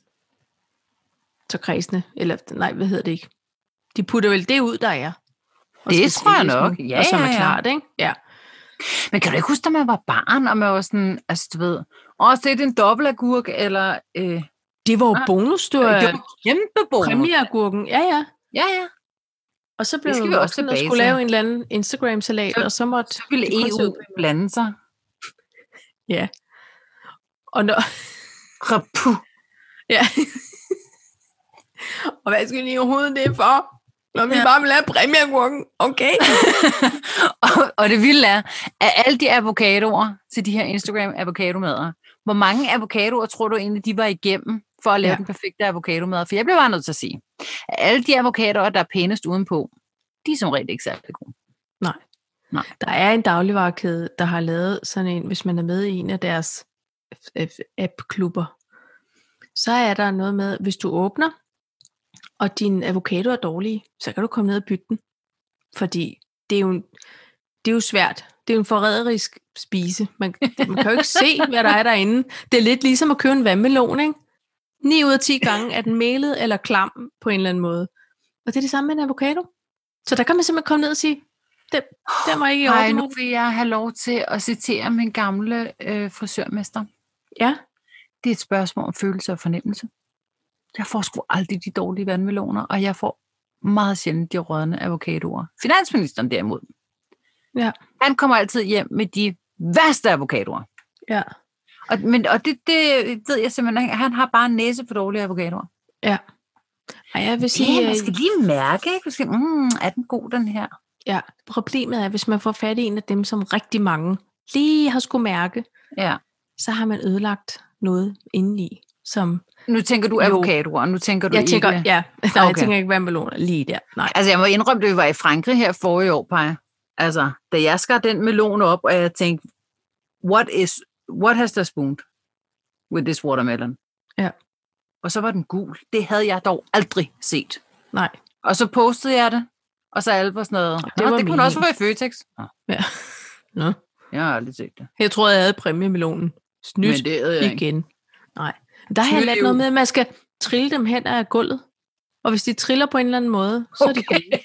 [SPEAKER 2] så kredsende, eller nej, hvad hedder det ikke? De putter vel det ud, der er. og
[SPEAKER 1] Det
[SPEAKER 2] skal
[SPEAKER 1] tror jeg
[SPEAKER 2] sælges
[SPEAKER 1] nok.
[SPEAKER 2] nu,
[SPEAKER 1] Ja,
[SPEAKER 2] og som
[SPEAKER 1] ja,
[SPEAKER 2] er
[SPEAKER 1] ja.
[SPEAKER 2] klart, ikke? Ja.
[SPEAKER 1] Men kan du ikke huske, da man var barn, og man var sådan, altså du ved, også det er en dobbeltagurk, eller øh,
[SPEAKER 2] Det var jo
[SPEAKER 1] Ah,
[SPEAKER 2] bonus, du
[SPEAKER 1] det
[SPEAKER 2] er
[SPEAKER 1] var kæmpe bonus.
[SPEAKER 2] præmieagurken. Ja, ja.
[SPEAKER 1] Ja, ja.
[SPEAKER 2] Og så blev
[SPEAKER 1] skal
[SPEAKER 2] jeg
[SPEAKER 1] vi også
[SPEAKER 2] voksen og
[SPEAKER 1] tilbage
[SPEAKER 2] skulle
[SPEAKER 1] til.
[SPEAKER 2] lave en eller anden Instagram-salat,
[SPEAKER 1] Så-
[SPEAKER 2] og så måtte
[SPEAKER 1] Så ville
[SPEAKER 2] Det kunne se
[SPEAKER 1] EU blande sig.
[SPEAKER 2] og når,
[SPEAKER 1] Rapu.
[SPEAKER 2] Ja. og hvad skal I overhovedet det for? Når vi ja. bare vil have præmieagurken, okay?
[SPEAKER 1] og, og det vilde er, at alle de avocadoer til de her Instagram-avocadomader, hvor mange avocadoer tror du egentlig, de var igennem for at lave ja.
[SPEAKER 2] Ja.
[SPEAKER 1] den perfekte avocadomad? For jeg bliver bare nødt til at sige, at alle de avocadoer, der er pænest udenpå, de er som regel ikke særlig gode.
[SPEAKER 2] Der er en dagligvarekæde, der har lavet sådan en, hvis man er med i en af deres øh, app-klubber, så er der noget med, hvis du åbner, og din avocado er dårlig, så kan du komme ned og bytte den. Fordi det er jo, en, det er jo svært. Det er jo en forræderisk spise. Man, man kan jo ikke se, hvad der er derinde. Det er lidt ligesom at købe en vandmelon, ikke? 9 ud af 10 gange er den melet eller klam på en eller anden måde. Og det er det samme med en avocado. Så der kan man simpelthen komme ned og sige, den, den var ikke i orden.
[SPEAKER 1] Nej, nu vil jeg have lov til at citere min gamle øh, frisørmester.
[SPEAKER 2] Ja,
[SPEAKER 1] Det er et spørgsmål om følelse og fornemmelse. Jeg får sgu aldrig de dårlige vandmeloner, og jeg får meget sjældent de rådne avocadoer. Finansministeren derimod,
[SPEAKER 2] Ja.
[SPEAKER 1] han kommer altid hjem med de værste avocadoer.
[SPEAKER 2] ja.
[SPEAKER 1] Og, men, og det, det ved jeg simpelthen ikke. Han har bare en næse for dårlige avocadoer.
[SPEAKER 2] Og jeg vil sige,
[SPEAKER 1] Ja, man
[SPEAKER 2] yeah,
[SPEAKER 1] skal lige mærke, ikke? Man skal, mm, er den god, den her?
[SPEAKER 2] ja, problemet er, hvis man får fat i en af dem, som rigtig mange lige har skulle mærke,
[SPEAKER 1] Ja.
[SPEAKER 2] så har man ødelagt noget indeni, som...
[SPEAKER 1] Nu tænker du
[SPEAKER 2] Jo.
[SPEAKER 1] avocadoer, nu tænker du
[SPEAKER 2] Jeg
[SPEAKER 1] ikke...
[SPEAKER 2] tænker, ja, nej, okay. jeg
[SPEAKER 1] Okay.
[SPEAKER 2] tænker ikke vandmeloner lige der. Nej.
[SPEAKER 1] Altså, jeg må indrømme, at vi var i Frankrig her forrige år, Paj. Altså, da jeg skar den melon op, og jeg tænkte, what, is, what has there spooned with this watermelon?
[SPEAKER 2] Ja.
[SPEAKER 1] Og så var den gul. Det havde jeg dog aldrig set.
[SPEAKER 2] nej.
[SPEAKER 1] Og så postede jeg det, og så alle var sådan noget. Det,
[SPEAKER 2] var
[SPEAKER 1] det kunne
[SPEAKER 2] meningen."
[SPEAKER 1] også være i Føtex. Nå,
[SPEAKER 2] Ja. Nå.
[SPEAKER 1] Jeg har aldrig set det.
[SPEAKER 2] Jeg troede, jeg havde præmiemelonen. Snydt.
[SPEAKER 1] Men det havde jeg ikke.
[SPEAKER 2] igen. Nej. Der har jeg
[SPEAKER 1] Snydt
[SPEAKER 2] lært
[SPEAKER 1] jo.
[SPEAKER 2] noget med, at man skal trille dem hen ad gulvet. Og hvis de triller på en eller anden måde, så er de
[SPEAKER 1] Okay.
[SPEAKER 2] gode.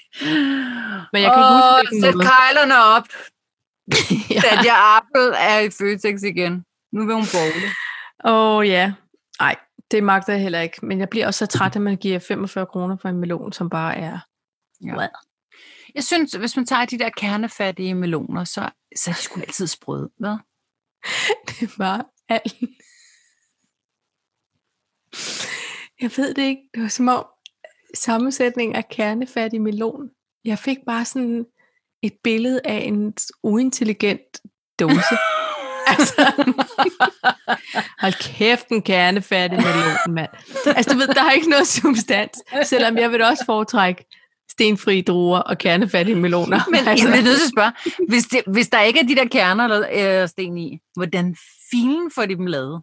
[SPEAKER 2] Men jeg kan ikke
[SPEAKER 1] Åh,
[SPEAKER 2] huske, hvilken
[SPEAKER 1] Sæt
[SPEAKER 2] måde.
[SPEAKER 1] kejlerne op,
[SPEAKER 2] ja.
[SPEAKER 1] at jeg Apple er i Føtex igen. Nu vil hun bogle.
[SPEAKER 2] Åh oh, ja. Nej, det magter jeg heller ikke. Men jeg bliver også så træt, at man giver 45 kroner for en melon, som bare er...
[SPEAKER 1] Jeg synes, hvis man tager de der kernefattige meloner, så, så er de sgu altid sprøde. Hvad?
[SPEAKER 2] Det var alt. Jeg ved det ikke. Det var som om sammensætning af kernefattig melon. Jeg fik bare sådan et billede af en uintelligent dose. altså, hold kæft, en kernefattig melon, mand. Altså, du ved, der er ikke noget substans. Selvom jeg vil da også foretrække stenfri druer og kernefattige meloner.
[SPEAKER 1] Men altså.
[SPEAKER 2] altså,
[SPEAKER 1] jeg bliver nødt til at spørge, hvis, det, hvis der ikke er de der kerner eller øh, sten i, hvordan filen får de dem lavet?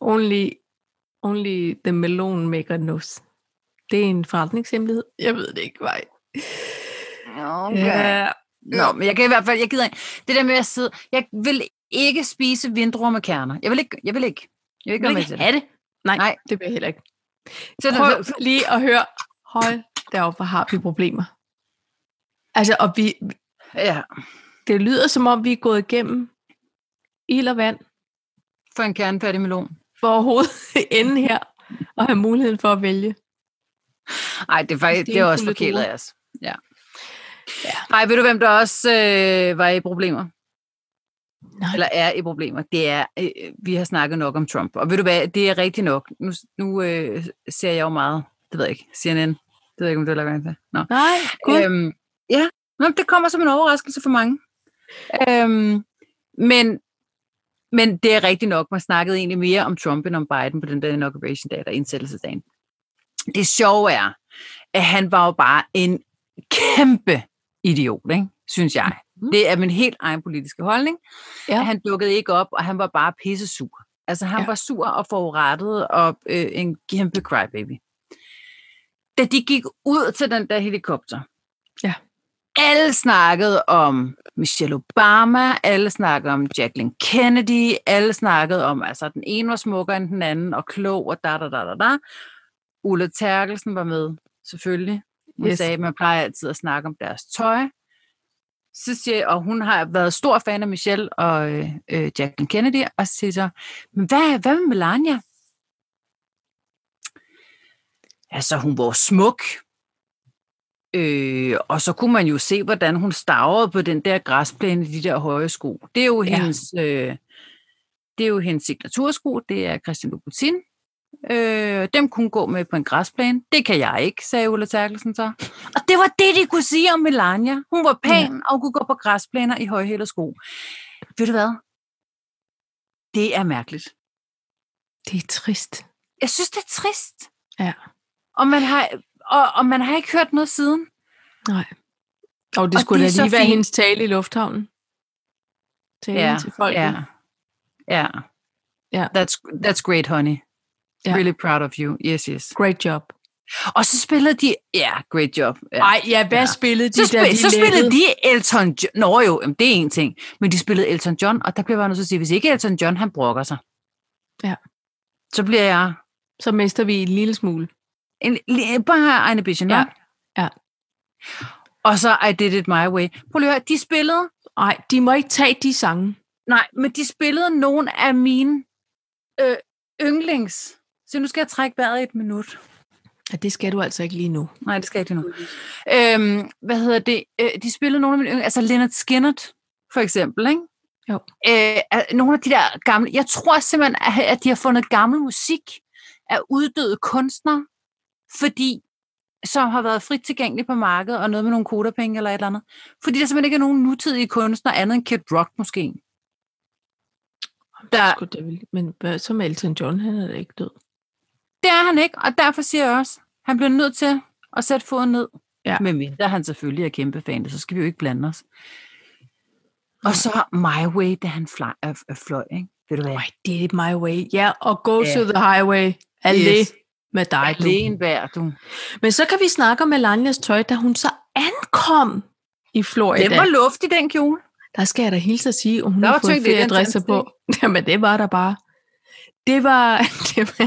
[SPEAKER 2] Only, only the melon maker knows. Det er en forretningshemmelighed. Jeg ved det ikke, vej. Ja,
[SPEAKER 1] Øh, Nå, men jeg kan i hvert fald, jeg gider ikke. Det der med at sidde, jeg vil ikke spise vindruer med kerner. Jeg vil ikke, jeg vil ikke. Jeg vil ikke, være
[SPEAKER 2] jeg vil
[SPEAKER 1] med til
[SPEAKER 2] ikke
[SPEAKER 1] det.
[SPEAKER 2] have det. Nej,
[SPEAKER 1] Nej.
[SPEAKER 2] Nej, det vil jeg heller ikke.
[SPEAKER 1] Så,
[SPEAKER 2] Prøv
[SPEAKER 1] så,
[SPEAKER 2] lige at høre, hold deroppe, hvor har vi problemer. Altså, og vi,
[SPEAKER 1] ja,
[SPEAKER 2] det lyder som om, vi er gået igennem ild og vand
[SPEAKER 1] for en kernefattig melon.
[SPEAKER 2] for overhovedet enden her, og have muligheden for at vælge.
[SPEAKER 1] Nej, det er, faktisk, det er også
[SPEAKER 2] Stenfulde
[SPEAKER 1] forkælet
[SPEAKER 2] druer.
[SPEAKER 1] af os. Ja.
[SPEAKER 2] Ja.
[SPEAKER 1] Nej, ved du, hvem der også øh, var i problemer?
[SPEAKER 2] Nej.
[SPEAKER 1] Eller er i problemer? Det er, øh, vi har snakket nok om Trump. Og ved du hvad, det er rigtigt nok. Nu, nu øh, ser jeg jo meget, det ved jeg ikke, CNN. Det ved jeg ikke, om du har lagt mærke til. Nå.
[SPEAKER 2] Nej, gud.
[SPEAKER 1] Øhm, ja, Nå, men det kommer som en overraskelse for mange. Øhm, men, men det er rigtigt nok, man snakkede egentlig mere om Trump end om Biden på den der inauguration dag, der indsættelsesdagen. Det sjove er, at han var jo bare en kæmpe idiot, ikke? synes jeg.
[SPEAKER 2] Mhm.
[SPEAKER 1] Det er min helt egen politiske holdning.
[SPEAKER 2] Ja.
[SPEAKER 1] Mm-hmm. Ja. Han dukkede ikke op, og han var bare pissesur. Altså, han
[SPEAKER 2] Ja.
[SPEAKER 1] ja. var sur og forurettet og øh, en kæmpe crybaby da de gik ud til den der helikopter.
[SPEAKER 2] Ja.
[SPEAKER 1] Alle snakkede om Michelle Obama, alle snakkede om Jacqueline Kennedy, alle snakkede om, altså den ene var smukkere end den anden, og klog, og da, da, da, da, da. Ulla Terkelsen var med, selvfølgelig. Hun
[SPEAKER 2] Yes.
[SPEAKER 1] yes. sagde, at man plejer altid at snakke om deres tøj. Så siger jeg, og hun har været stor fan af Michelle og øh, øh, Jacqueline Kennedy, og så siger så, men hvad, hvad med Melania? Altså, hun var smuk. Øh, og så kunne man jo se, hvordan hun stavrede på den der græsplæne i de der høje sko. Det er jo
[SPEAKER 2] Ja.
[SPEAKER 1] ja. hendes, øh, det er jo hendes signatursko, det er Christian Louboutin. Øh, dem kunne hun gå med på en græsplæne. Det kan jeg ikke, sagde Ulla Terkelsen så. Og det var det, de kunne sige om Melania. Hun var pæn, ja. og hun kunne gå på græsplæner i højhælede sko. Ved du hvad? Det er mærkeligt.
[SPEAKER 2] Det er trist.
[SPEAKER 1] Jeg synes, det er trist.
[SPEAKER 2] Ja.
[SPEAKER 1] Og man har, og, og man har ikke hørt noget siden.
[SPEAKER 2] Og det
[SPEAKER 1] Og
[SPEAKER 2] skulle
[SPEAKER 1] det
[SPEAKER 2] da
[SPEAKER 1] er så
[SPEAKER 2] lige være
[SPEAKER 1] fint.
[SPEAKER 2] hendes tale i lufthavnen. Tale ja, til folk.
[SPEAKER 1] Ja. Ja.
[SPEAKER 2] Ja.
[SPEAKER 1] That's, that's great, honey.
[SPEAKER 2] Ja.
[SPEAKER 1] Ja. Really proud of you. Yes, yes.
[SPEAKER 2] Great job.
[SPEAKER 1] Og så spillede de... Ja, great job. Ja.
[SPEAKER 2] Nej, ja, hvad
[SPEAKER 1] Ja.
[SPEAKER 2] spillede de,
[SPEAKER 1] så,
[SPEAKER 2] da
[SPEAKER 1] spil,
[SPEAKER 2] de
[SPEAKER 1] så spillede
[SPEAKER 2] lettede?
[SPEAKER 1] de Elton John. Nå jo, jamen, det er en ting. Men de spillede Elton John, og der bliver jeg bare nødt til at sige, hvis ikke Elton John, han brokker sig.
[SPEAKER 2] Ja.
[SPEAKER 1] Så bliver jeg
[SPEAKER 2] Så mister vi en lille smule.
[SPEAKER 1] en, lige- bare Ejne Bichon,
[SPEAKER 2] Ja, ja.
[SPEAKER 1] Og så I Did It My Way. Prøv lige at høre, de spillede...
[SPEAKER 2] Nej, de må ikke tage de sange.
[SPEAKER 1] Nej, men de spillede nogle af mine øh, yndlings... Så nu skal jeg trække vejret i et minut.
[SPEAKER 2] Ja, det skal du altså ikke lige nu.
[SPEAKER 1] Nej, det skal jeg ikke lige nu. Øhm, hvad hedder det? Øh, de spillede nogle af mine yndlings- altså Leonard Skinner, for eksempel, ikke?
[SPEAKER 2] Jo.
[SPEAKER 1] Øh, al- nogle af de der gamle, jeg tror simpelthen, at- at de har fundet gammel musik af uddøde kunstnere, fordi som har været frit tilgængelig på markedet, og noget med nogle kodapenge eller et eller andet. Fordi der simpelthen ikke er nogen nutidige kunstnere, andet end Kid Rock måske. Der-
[SPEAKER 2] Sgu da vel- Men hvad så med Elton John, han er da ikke død.
[SPEAKER 1] Det er han ikke, og derfor siger jeg også, han bliver nødt til at sætte foden ned.
[SPEAKER 2] Ja.
[SPEAKER 1] Men mindre han selvfølgelig er kæmpe fan, så skal vi jo ikke blande os. Og så My Way, da han fly, øh, øh, fløj, ikke? Ved du hvad?
[SPEAKER 2] Nej, det er my way. Ja, og go
[SPEAKER 1] Ja.
[SPEAKER 2] to the highway. Alle yes. med dig, du.
[SPEAKER 1] Alene bær, du.
[SPEAKER 2] Men så kan vi snakke om Melanias tøj, da hun så ankom i Florida.
[SPEAKER 1] Den var luft i den kjole.
[SPEAKER 2] Der skal jeg da hilse at sige, at hun
[SPEAKER 1] Der
[SPEAKER 2] har
[SPEAKER 1] var
[SPEAKER 2] fået
[SPEAKER 1] tyngde i
[SPEAKER 2] fedt
[SPEAKER 1] den
[SPEAKER 2] adresse på. Jamen, det var der bare. Det var, det var,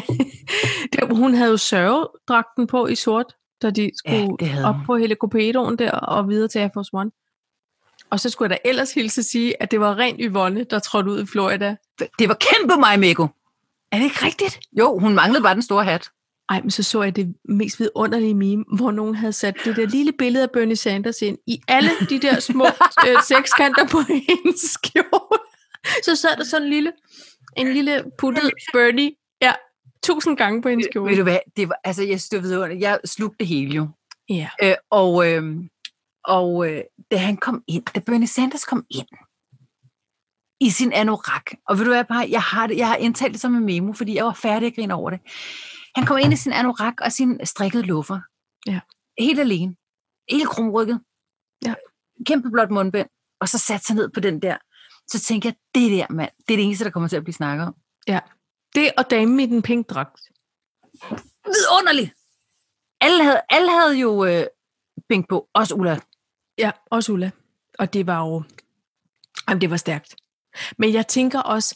[SPEAKER 2] det var hun havde jo sørgedragten på i sort, da de skulle
[SPEAKER 1] det havde
[SPEAKER 2] ja, op
[SPEAKER 1] hun.
[SPEAKER 2] på helicopedoen der og videre til Air Force One. Og så skulle jeg da ellers hilse at sige, at det var rent Yvonne, der trådte ud i Florida.
[SPEAKER 1] Det var kæmpe mig, Mikko.
[SPEAKER 2] Er det ikke rigtigt?
[SPEAKER 1] Jo, hun manglede bare den store hat.
[SPEAKER 2] Ej, men så så jeg det mest vidunderlige meme, hvor nogen havde sat det der lille billede af Bernie Sanders ind i alle de der små øh, sekskanter på hendes skjorte. Så sad der sådan en lille, en lille puttet Bernie, ja, tusind gange på hendes
[SPEAKER 1] Ved
[SPEAKER 2] skjorte.
[SPEAKER 1] du hvad? Det var, altså, jeg støvede under. Jeg slugte det hele jo.
[SPEAKER 2] Ja.
[SPEAKER 1] Øh, og øh, og øh, da han kom ind, da Bernie Sanders kom ind i sin anorak, og ved du hvad, bare, jeg har, det, jeg har indtalt det som en memo, fordi jeg var færdig at grine over det. Han kom ind i sin anorak og sin strikkede luffer.
[SPEAKER 2] Ja.
[SPEAKER 1] Helt alene. Helt krumrykket.
[SPEAKER 2] Ja.
[SPEAKER 1] Kæmpe blot mundbind. Og så satte sig ned på den der. Så tænkte jeg, det der mand, det er det eneste, der kommer til at blive snakket om.
[SPEAKER 2] Det og damen i den pink dragt.
[SPEAKER 1] vidunderligt. Alle havde, alle havde jo øh, bænk på, også Ulla.
[SPEAKER 2] Ja, også Ulla. Og det var jo... Jamen, det var stærkt. Men jeg tænker også...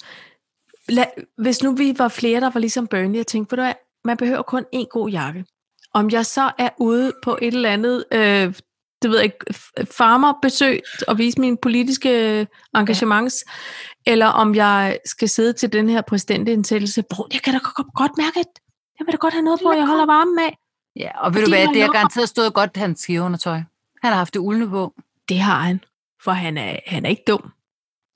[SPEAKER 2] Lad, hvis nu vi var flere, der var ligesom Bernie, jeg tænkte, ved du hvad, man behøver kun en god jakke. Om jeg så er ude på et eller andet, øh, det ved jeg ikke, f- farmerbesøg og vise mine politiske øh, engagements, ja. eller om jeg skal sidde til den her præsidentindsættelse, bro, jeg kan da godt, godt mærke, at jeg vil da godt have noget på, jeg holder varmen af.
[SPEAKER 1] Ja, og ved
[SPEAKER 2] Fordi
[SPEAKER 1] du hvad,
[SPEAKER 2] han
[SPEAKER 1] det har
[SPEAKER 2] lukker.
[SPEAKER 1] garanteret stået godt, hans skiveundertøj. Han har haft det uldne på.
[SPEAKER 2] Det har han, for han er, han er ikke dum.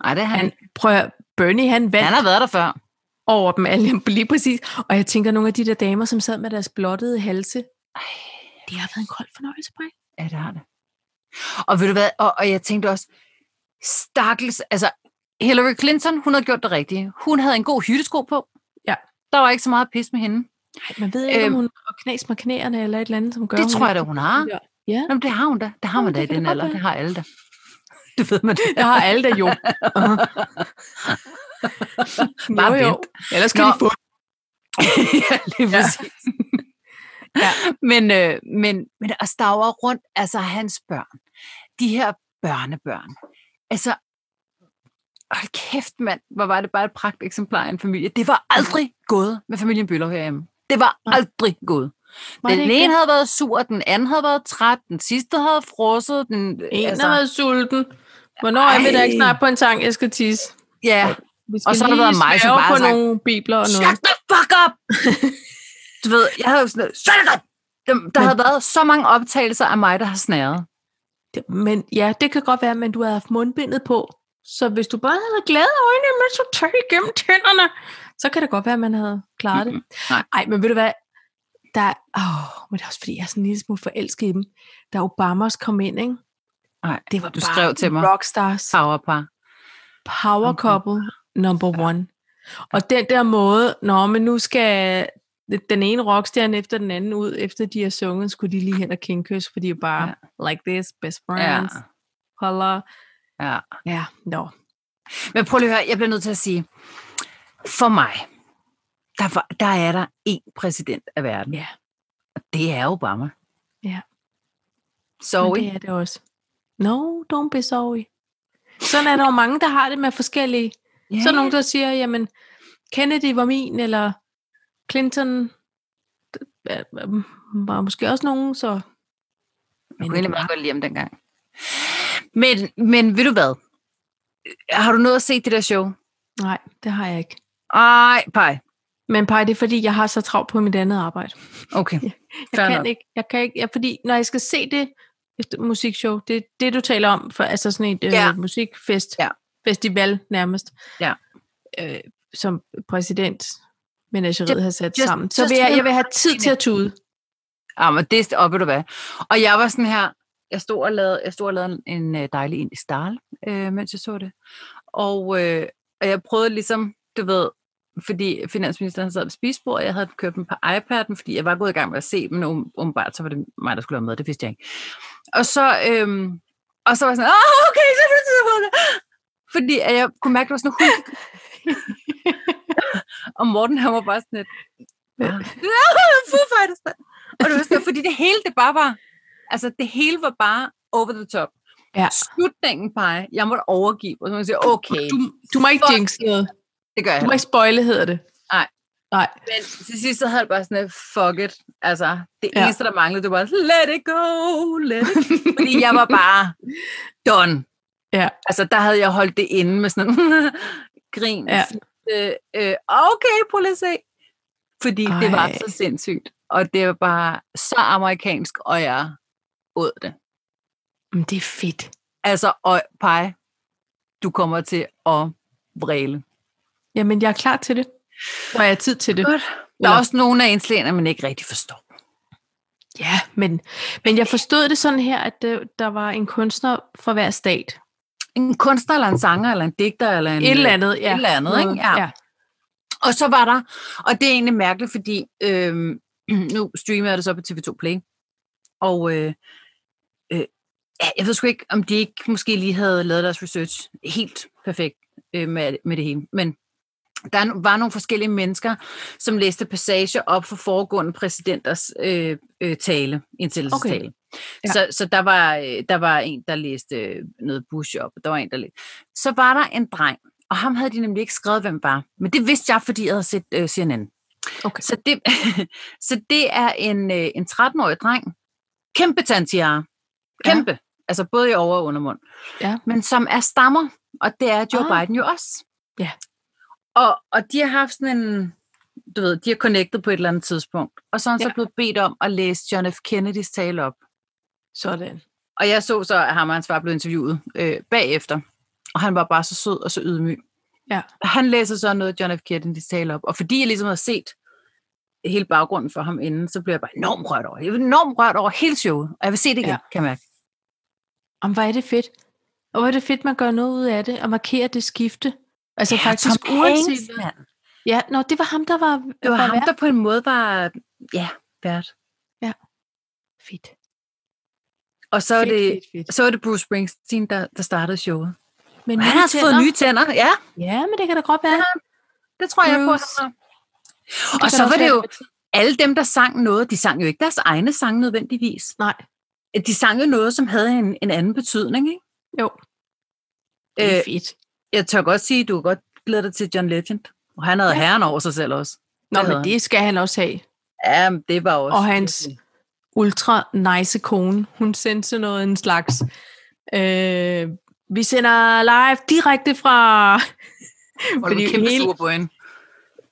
[SPEAKER 1] Nej, det har han.
[SPEAKER 2] Han, prøv at høre, Bernie, han vandt
[SPEAKER 1] Han har været der før.
[SPEAKER 2] over dem alle, lige præcis. Og jeg tænker, nogle af de der damer, som sad med deres blottede halse,
[SPEAKER 1] Ej,
[SPEAKER 2] det har været en kold fornøjelse, Brian.
[SPEAKER 1] ja, det har det. Og ved du hvad, og, og jeg tænkte også, stakkels, altså Hillary Clinton, hun havde gjort det rigtige. Hun havde en god hyttesko på.
[SPEAKER 2] Ja.
[SPEAKER 1] Der var ikke så meget pis med hende.
[SPEAKER 2] Ej, man ved ikke,
[SPEAKER 1] Øhm,
[SPEAKER 2] om hun har knas med knæerne eller et eller andet, som gør
[SPEAKER 1] det
[SPEAKER 2] hun
[SPEAKER 1] tror jeg da, hun har.
[SPEAKER 2] Ja. Ja.
[SPEAKER 1] Jamen, det har hun da. Det har
[SPEAKER 2] Nå,
[SPEAKER 1] man da
[SPEAKER 2] det
[SPEAKER 1] i
[SPEAKER 2] kan
[SPEAKER 1] den
[SPEAKER 2] da godt
[SPEAKER 1] alder.
[SPEAKER 2] være.
[SPEAKER 1] Det har alle da. Det ved man da.
[SPEAKER 2] Der har alle der jo. Uh-huh.
[SPEAKER 1] Bare
[SPEAKER 2] jo, jo.
[SPEAKER 1] vent.
[SPEAKER 2] Ellers kan
[SPEAKER 1] Nå.
[SPEAKER 2] de få
[SPEAKER 1] ja, lige
[SPEAKER 2] Ja.
[SPEAKER 1] præcis. ja. Men, øh, men, men at stavre rundt, altså hans børn, de her børnebørn, altså, hold kæft mand, hvor var det bare et pragt eksemplar af en familie. Det var aldrig gået med familien Bøller herhjemme. Det var
[SPEAKER 2] Nej.
[SPEAKER 1] aldrig gået.
[SPEAKER 2] Var
[SPEAKER 1] Den
[SPEAKER 2] det ikke
[SPEAKER 1] ene
[SPEAKER 2] det?
[SPEAKER 1] havde været sur, den anden havde været træt, den sidste havde frosset, den... øh,
[SPEAKER 2] En har været sulten. Hvornår er vi da ikke
[SPEAKER 1] Altså. Ej.
[SPEAKER 2] snart på en sang, jeg skal tisse?
[SPEAKER 1] ja,
[SPEAKER 2] Vi skal
[SPEAKER 1] så har der
[SPEAKER 2] lige
[SPEAKER 1] været mig, som
[SPEAKER 2] svære
[SPEAKER 1] bare
[SPEAKER 2] på
[SPEAKER 1] har sagt,
[SPEAKER 2] nogle bibler og noget.
[SPEAKER 1] Shut the fuck up! du ved, jeg havde jo sådan noget, shut it up! Dem- Der
[SPEAKER 2] Men-
[SPEAKER 1] havde været så mange optagelser af mig, der har snæret.
[SPEAKER 2] Det- Men ja, det kan godt være, men du har haft mundbindet på. Så hvis du bare havde glade øjne, men så tør igennem tænderne, så kan det godt være, at man havde klaret det.
[SPEAKER 1] nej.
[SPEAKER 2] Ej, men ved du hvad? Der, er- åh, men det er også fordi, jeg er sådan en lille smule forelsket i dem. Da Obamas kom ind, ikke?
[SPEAKER 1] Nej,
[SPEAKER 2] det var
[SPEAKER 1] du
[SPEAKER 2] bare
[SPEAKER 1] skrev til mig.
[SPEAKER 2] rockstars.
[SPEAKER 1] Powerpar.
[SPEAKER 2] Power couple number one. Og den der måde, nå, men nu skal den ene rockstjerne efter den anden ud, efter de har sunget, skulle de lige hen og kindkys, fordi bare, ja. like this, best
[SPEAKER 1] Ja,
[SPEAKER 2] friends, holder.
[SPEAKER 1] ja.
[SPEAKER 2] Ja, nå.
[SPEAKER 1] Men prøv lige at høre, jeg bliver nødt til at sige, for mig, der, var, der er der én præsident af verden.
[SPEAKER 2] Ja.
[SPEAKER 1] Og det er Obama.
[SPEAKER 2] Ja.
[SPEAKER 1] Zoe.
[SPEAKER 2] Men det er det også. No, don't be sorry. Sådan er der jo mange, der har det med forskellige.
[SPEAKER 1] ja.
[SPEAKER 2] Så er der nogen, der siger, jamen, Kennedy var min, eller Clinton øh, øh, var måske også nogen, så...
[SPEAKER 1] Jeg kunne egentlig meget godt lide ham dengang. Men, men ved du hvad? Har du noget at se det der show?
[SPEAKER 2] Nej, det har jeg ikke.
[SPEAKER 1] Ej, pej.
[SPEAKER 2] Men Paj, det er fordi, jeg har så travlt på mit andet arbejde.
[SPEAKER 1] Okay. Fair
[SPEAKER 2] Jeg kan
[SPEAKER 1] nok.
[SPEAKER 2] ikke, jeg kan ikke, ja, fordi når jeg skal se det et musikshow, det er det, du taler om, for altså sådan et
[SPEAKER 1] Ja.
[SPEAKER 2] øh, musikfest,
[SPEAKER 1] Ja.
[SPEAKER 2] festival nærmest,
[SPEAKER 1] Ja.
[SPEAKER 2] øh, som præsident menageriet
[SPEAKER 1] Just-
[SPEAKER 2] har sat
[SPEAKER 1] just-
[SPEAKER 2] sammen. Så
[SPEAKER 1] just
[SPEAKER 2] vil jeg, jeg vil have
[SPEAKER 1] remember
[SPEAKER 2] tid til at tude.
[SPEAKER 1] Ja, Ah, men det og ved du hvad. Og jeg var sådan her, jeg stod og lavede, jeg stod og lavede en, en øh, dejlig indisk dal, øh, mens jeg så det. Og, øh, og jeg prøvede ligesom, du ved, fordi finansministeren sad ved spisebord, og jeg havde købt dem på iPad'en, fordi jeg var gået i gang med at se dem, men um- umiddelbart så var det mig, der skulle have med, det vidste jeg ikke. Og så, øhm, og så var jeg sådan, ah, okay, så er det tid på det. Fordi at jeg kunne mærke, at det var sådan, hun Og Morten, han var bare sådan et, ah, Foo Fighters. mand." Og det var sådan, fordi det hele, det bare var, altså det hele var bare over the top.
[SPEAKER 2] Ja.
[SPEAKER 1] Slutningen bare, jeg måtte overgive, og så må jeg sige, okay,
[SPEAKER 2] Du, du må ikke
[SPEAKER 1] Fuck.
[SPEAKER 2] jinx noget.
[SPEAKER 1] det gør jeg
[SPEAKER 2] Du må
[SPEAKER 1] heller.
[SPEAKER 2] ikke spoile, hedder det.
[SPEAKER 1] Nej.
[SPEAKER 2] Nej.
[SPEAKER 1] Men til sidst, så havde jeg bare sådan, et, fuck it. Altså, det
[SPEAKER 2] Ja.
[SPEAKER 1] eneste, der manglede, det var, let it go, let it go. Fordi jeg var bare done.
[SPEAKER 2] Ja.
[SPEAKER 1] Altså, der havde jeg holdt det inde med sådan grin.
[SPEAKER 2] Ja.
[SPEAKER 1] Øh, øh, okay, prøv lige at se. Fordi Ej. det var
[SPEAKER 2] Ej.
[SPEAKER 1] så sindssygt. Og det var bare så amerikansk, og jeg åd det.
[SPEAKER 2] Men det er fedt.
[SPEAKER 1] Altså, og pege, du kommer til at vræle.
[SPEAKER 2] Jamen, jeg er klar til det. Når jeg har tid til det.
[SPEAKER 1] Godt. Der er
[SPEAKER 2] Eller-
[SPEAKER 1] også nogle af ens læner, man ikke rigtig forstår.
[SPEAKER 2] Ja, men, men jeg forstod det sådan her, at øh, der var en kunstner fra hver stat.
[SPEAKER 1] En kunstner, eller en sanger, eller en digter, eller en...
[SPEAKER 2] Et eller andet, ja.
[SPEAKER 1] et eller andet, ikke?
[SPEAKER 2] Noget,
[SPEAKER 1] Ja.
[SPEAKER 2] ja.
[SPEAKER 1] Og så var der, og det er egentlig mærkeligt, fordi øhm, nu streamer jeg det så på TV2 Play, og øh, øh, ja, jeg ved sgu ikke, om de ikke måske lige havde lavet deres research helt perfekt øh, med, med det hele, men der no- var nogle forskellige mennesker, som læste passager op for foregående præsidenters øh, øh, tale, indsættelsestale.
[SPEAKER 2] Okay.
[SPEAKER 1] Okay.
[SPEAKER 2] Ja.
[SPEAKER 1] Ja. Så, så der, var, øh, der var en, der læste øh, noget Bush op, og der var en, der læste. Så var der en dreng, og ham havde de nemlig ikke skrevet, hvem var. Men det vidste jeg, fordi jeg havde set øh, CNN.
[SPEAKER 2] Okay.
[SPEAKER 1] Så det, så det er en, øh, en 13-årig dreng. Kæmpe tantiare. Kæmpe. Ja. Altså både i over- og undermund.
[SPEAKER 2] Ja.
[SPEAKER 1] Men som er stammer, og det er Joe
[SPEAKER 2] Ah.
[SPEAKER 1] ah. Biden jo også.
[SPEAKER 2] Ja.
[SPEAKER 1] Og, og de har haft sådan en, du ved, de har connectet på et eller andet tidspunkt. Og så er han ja.
[SPEAKER 2] Ja.
[SPEAKER 1] så blevet bedt om at læse John F. Kennedys tale op.
[SPEAKER 2] Sådan.
[SPEAKER 1] Og jeg så så, at ham og hans far blev interviewet øh, bagefter. Og han var bare så sød og så ydmyg.
[SPEAKER 2] Ja.
[SPEAKER 1] Han læser så noget, John F. Kennedy taler op. Og fordi jeg ligesom havde set hele baggrunden for ham inden, så blev jeg bare enormt rørt over. det. Jeg var enormt rørt over hele showet. Og jeg vil se det igen,
[SPEAKER 2] Ja.
[SPEAKER 1] ja. kan jeg mærke.
[SPEAKER 2] Om hvor er det fedt. Og hvor er det fedt, man gør noget ud af det, og markerer det skifte. Altså ja, faktisk
[SPEAKER 1] Tom Hanks,
[SPEAKER 2] uanset hvad.
[SPEAKER 1] mand.
[SPEAKER 2] Ja, nå, det var ham, der var,
[SPEAKER 1] Det var ham,
[SPEAKER 2] vært.
[SPEAKER 1] der på en måde var, ja, vært.
[SPEAKER 2] Fedt.
[SPEAKER 1] Og så er
[SPEAKER 2] fedt,
[SPEAKER 1] det,
[SPEAKER 2] fedt, fedt.
[SPEAKER 1] så er det Bruce Springsteen, der, der startede showet.
[SPEAKER 2] Men
[SPEAKER 1] Men han har altså fået nye tænder, ja.
[SPEAKER 2] Ja, men det kan da godt være.
[SPEAKER 1] Det tror jeg på.
[SPEAKER 2] Bruce.
[SPEAKER 1] han har.
[SPEAKER 2] Det
[SPEAKER 1] Og
[SPEAKER 2] kan
[SPEAKER 1] så
[SPEAKER 2] da
[SPEAKER 1] var
[SPEAKER 2] også
[SPEAKER 1] det
[SPEAKER 2] være
[SPEAKER 1] jo, alle dem, der sang noget, de sang jo ikke deres egne sange nødvendigvis.
[SPEAKER 2] Nej,
[SPEAKER 1] de sang jo noget, som havde en, en anden betydning. Ikke?
[SPEAKER 2] jo. Det er
[SPEAKER 1] Øh,
[SPEAKER 2] fedt.
[SPEAKER 1] Jeg tør godt sige, at du kan godt glæde dig til John Legend. Og han havde
[SPEAKER 2] Ja.
[SPEAKER 1] ja. herren over sig selv også.
[SPEAKER 2] Nå,
[SPEAKER 1] det
[SPEAKER 2] men
[SPEAKER 1] havde
[SPEAKER 2] det skal han også have.
[SPEAKER 1] Ja, men det var også...
[SPEAKER 2] Og hans- ultra nice kone. Hun sendte sådan noget en slags... Øh, vi sender live direkte fra...
[SPEAKER 1] Var du kæmpe hele... sur på hende?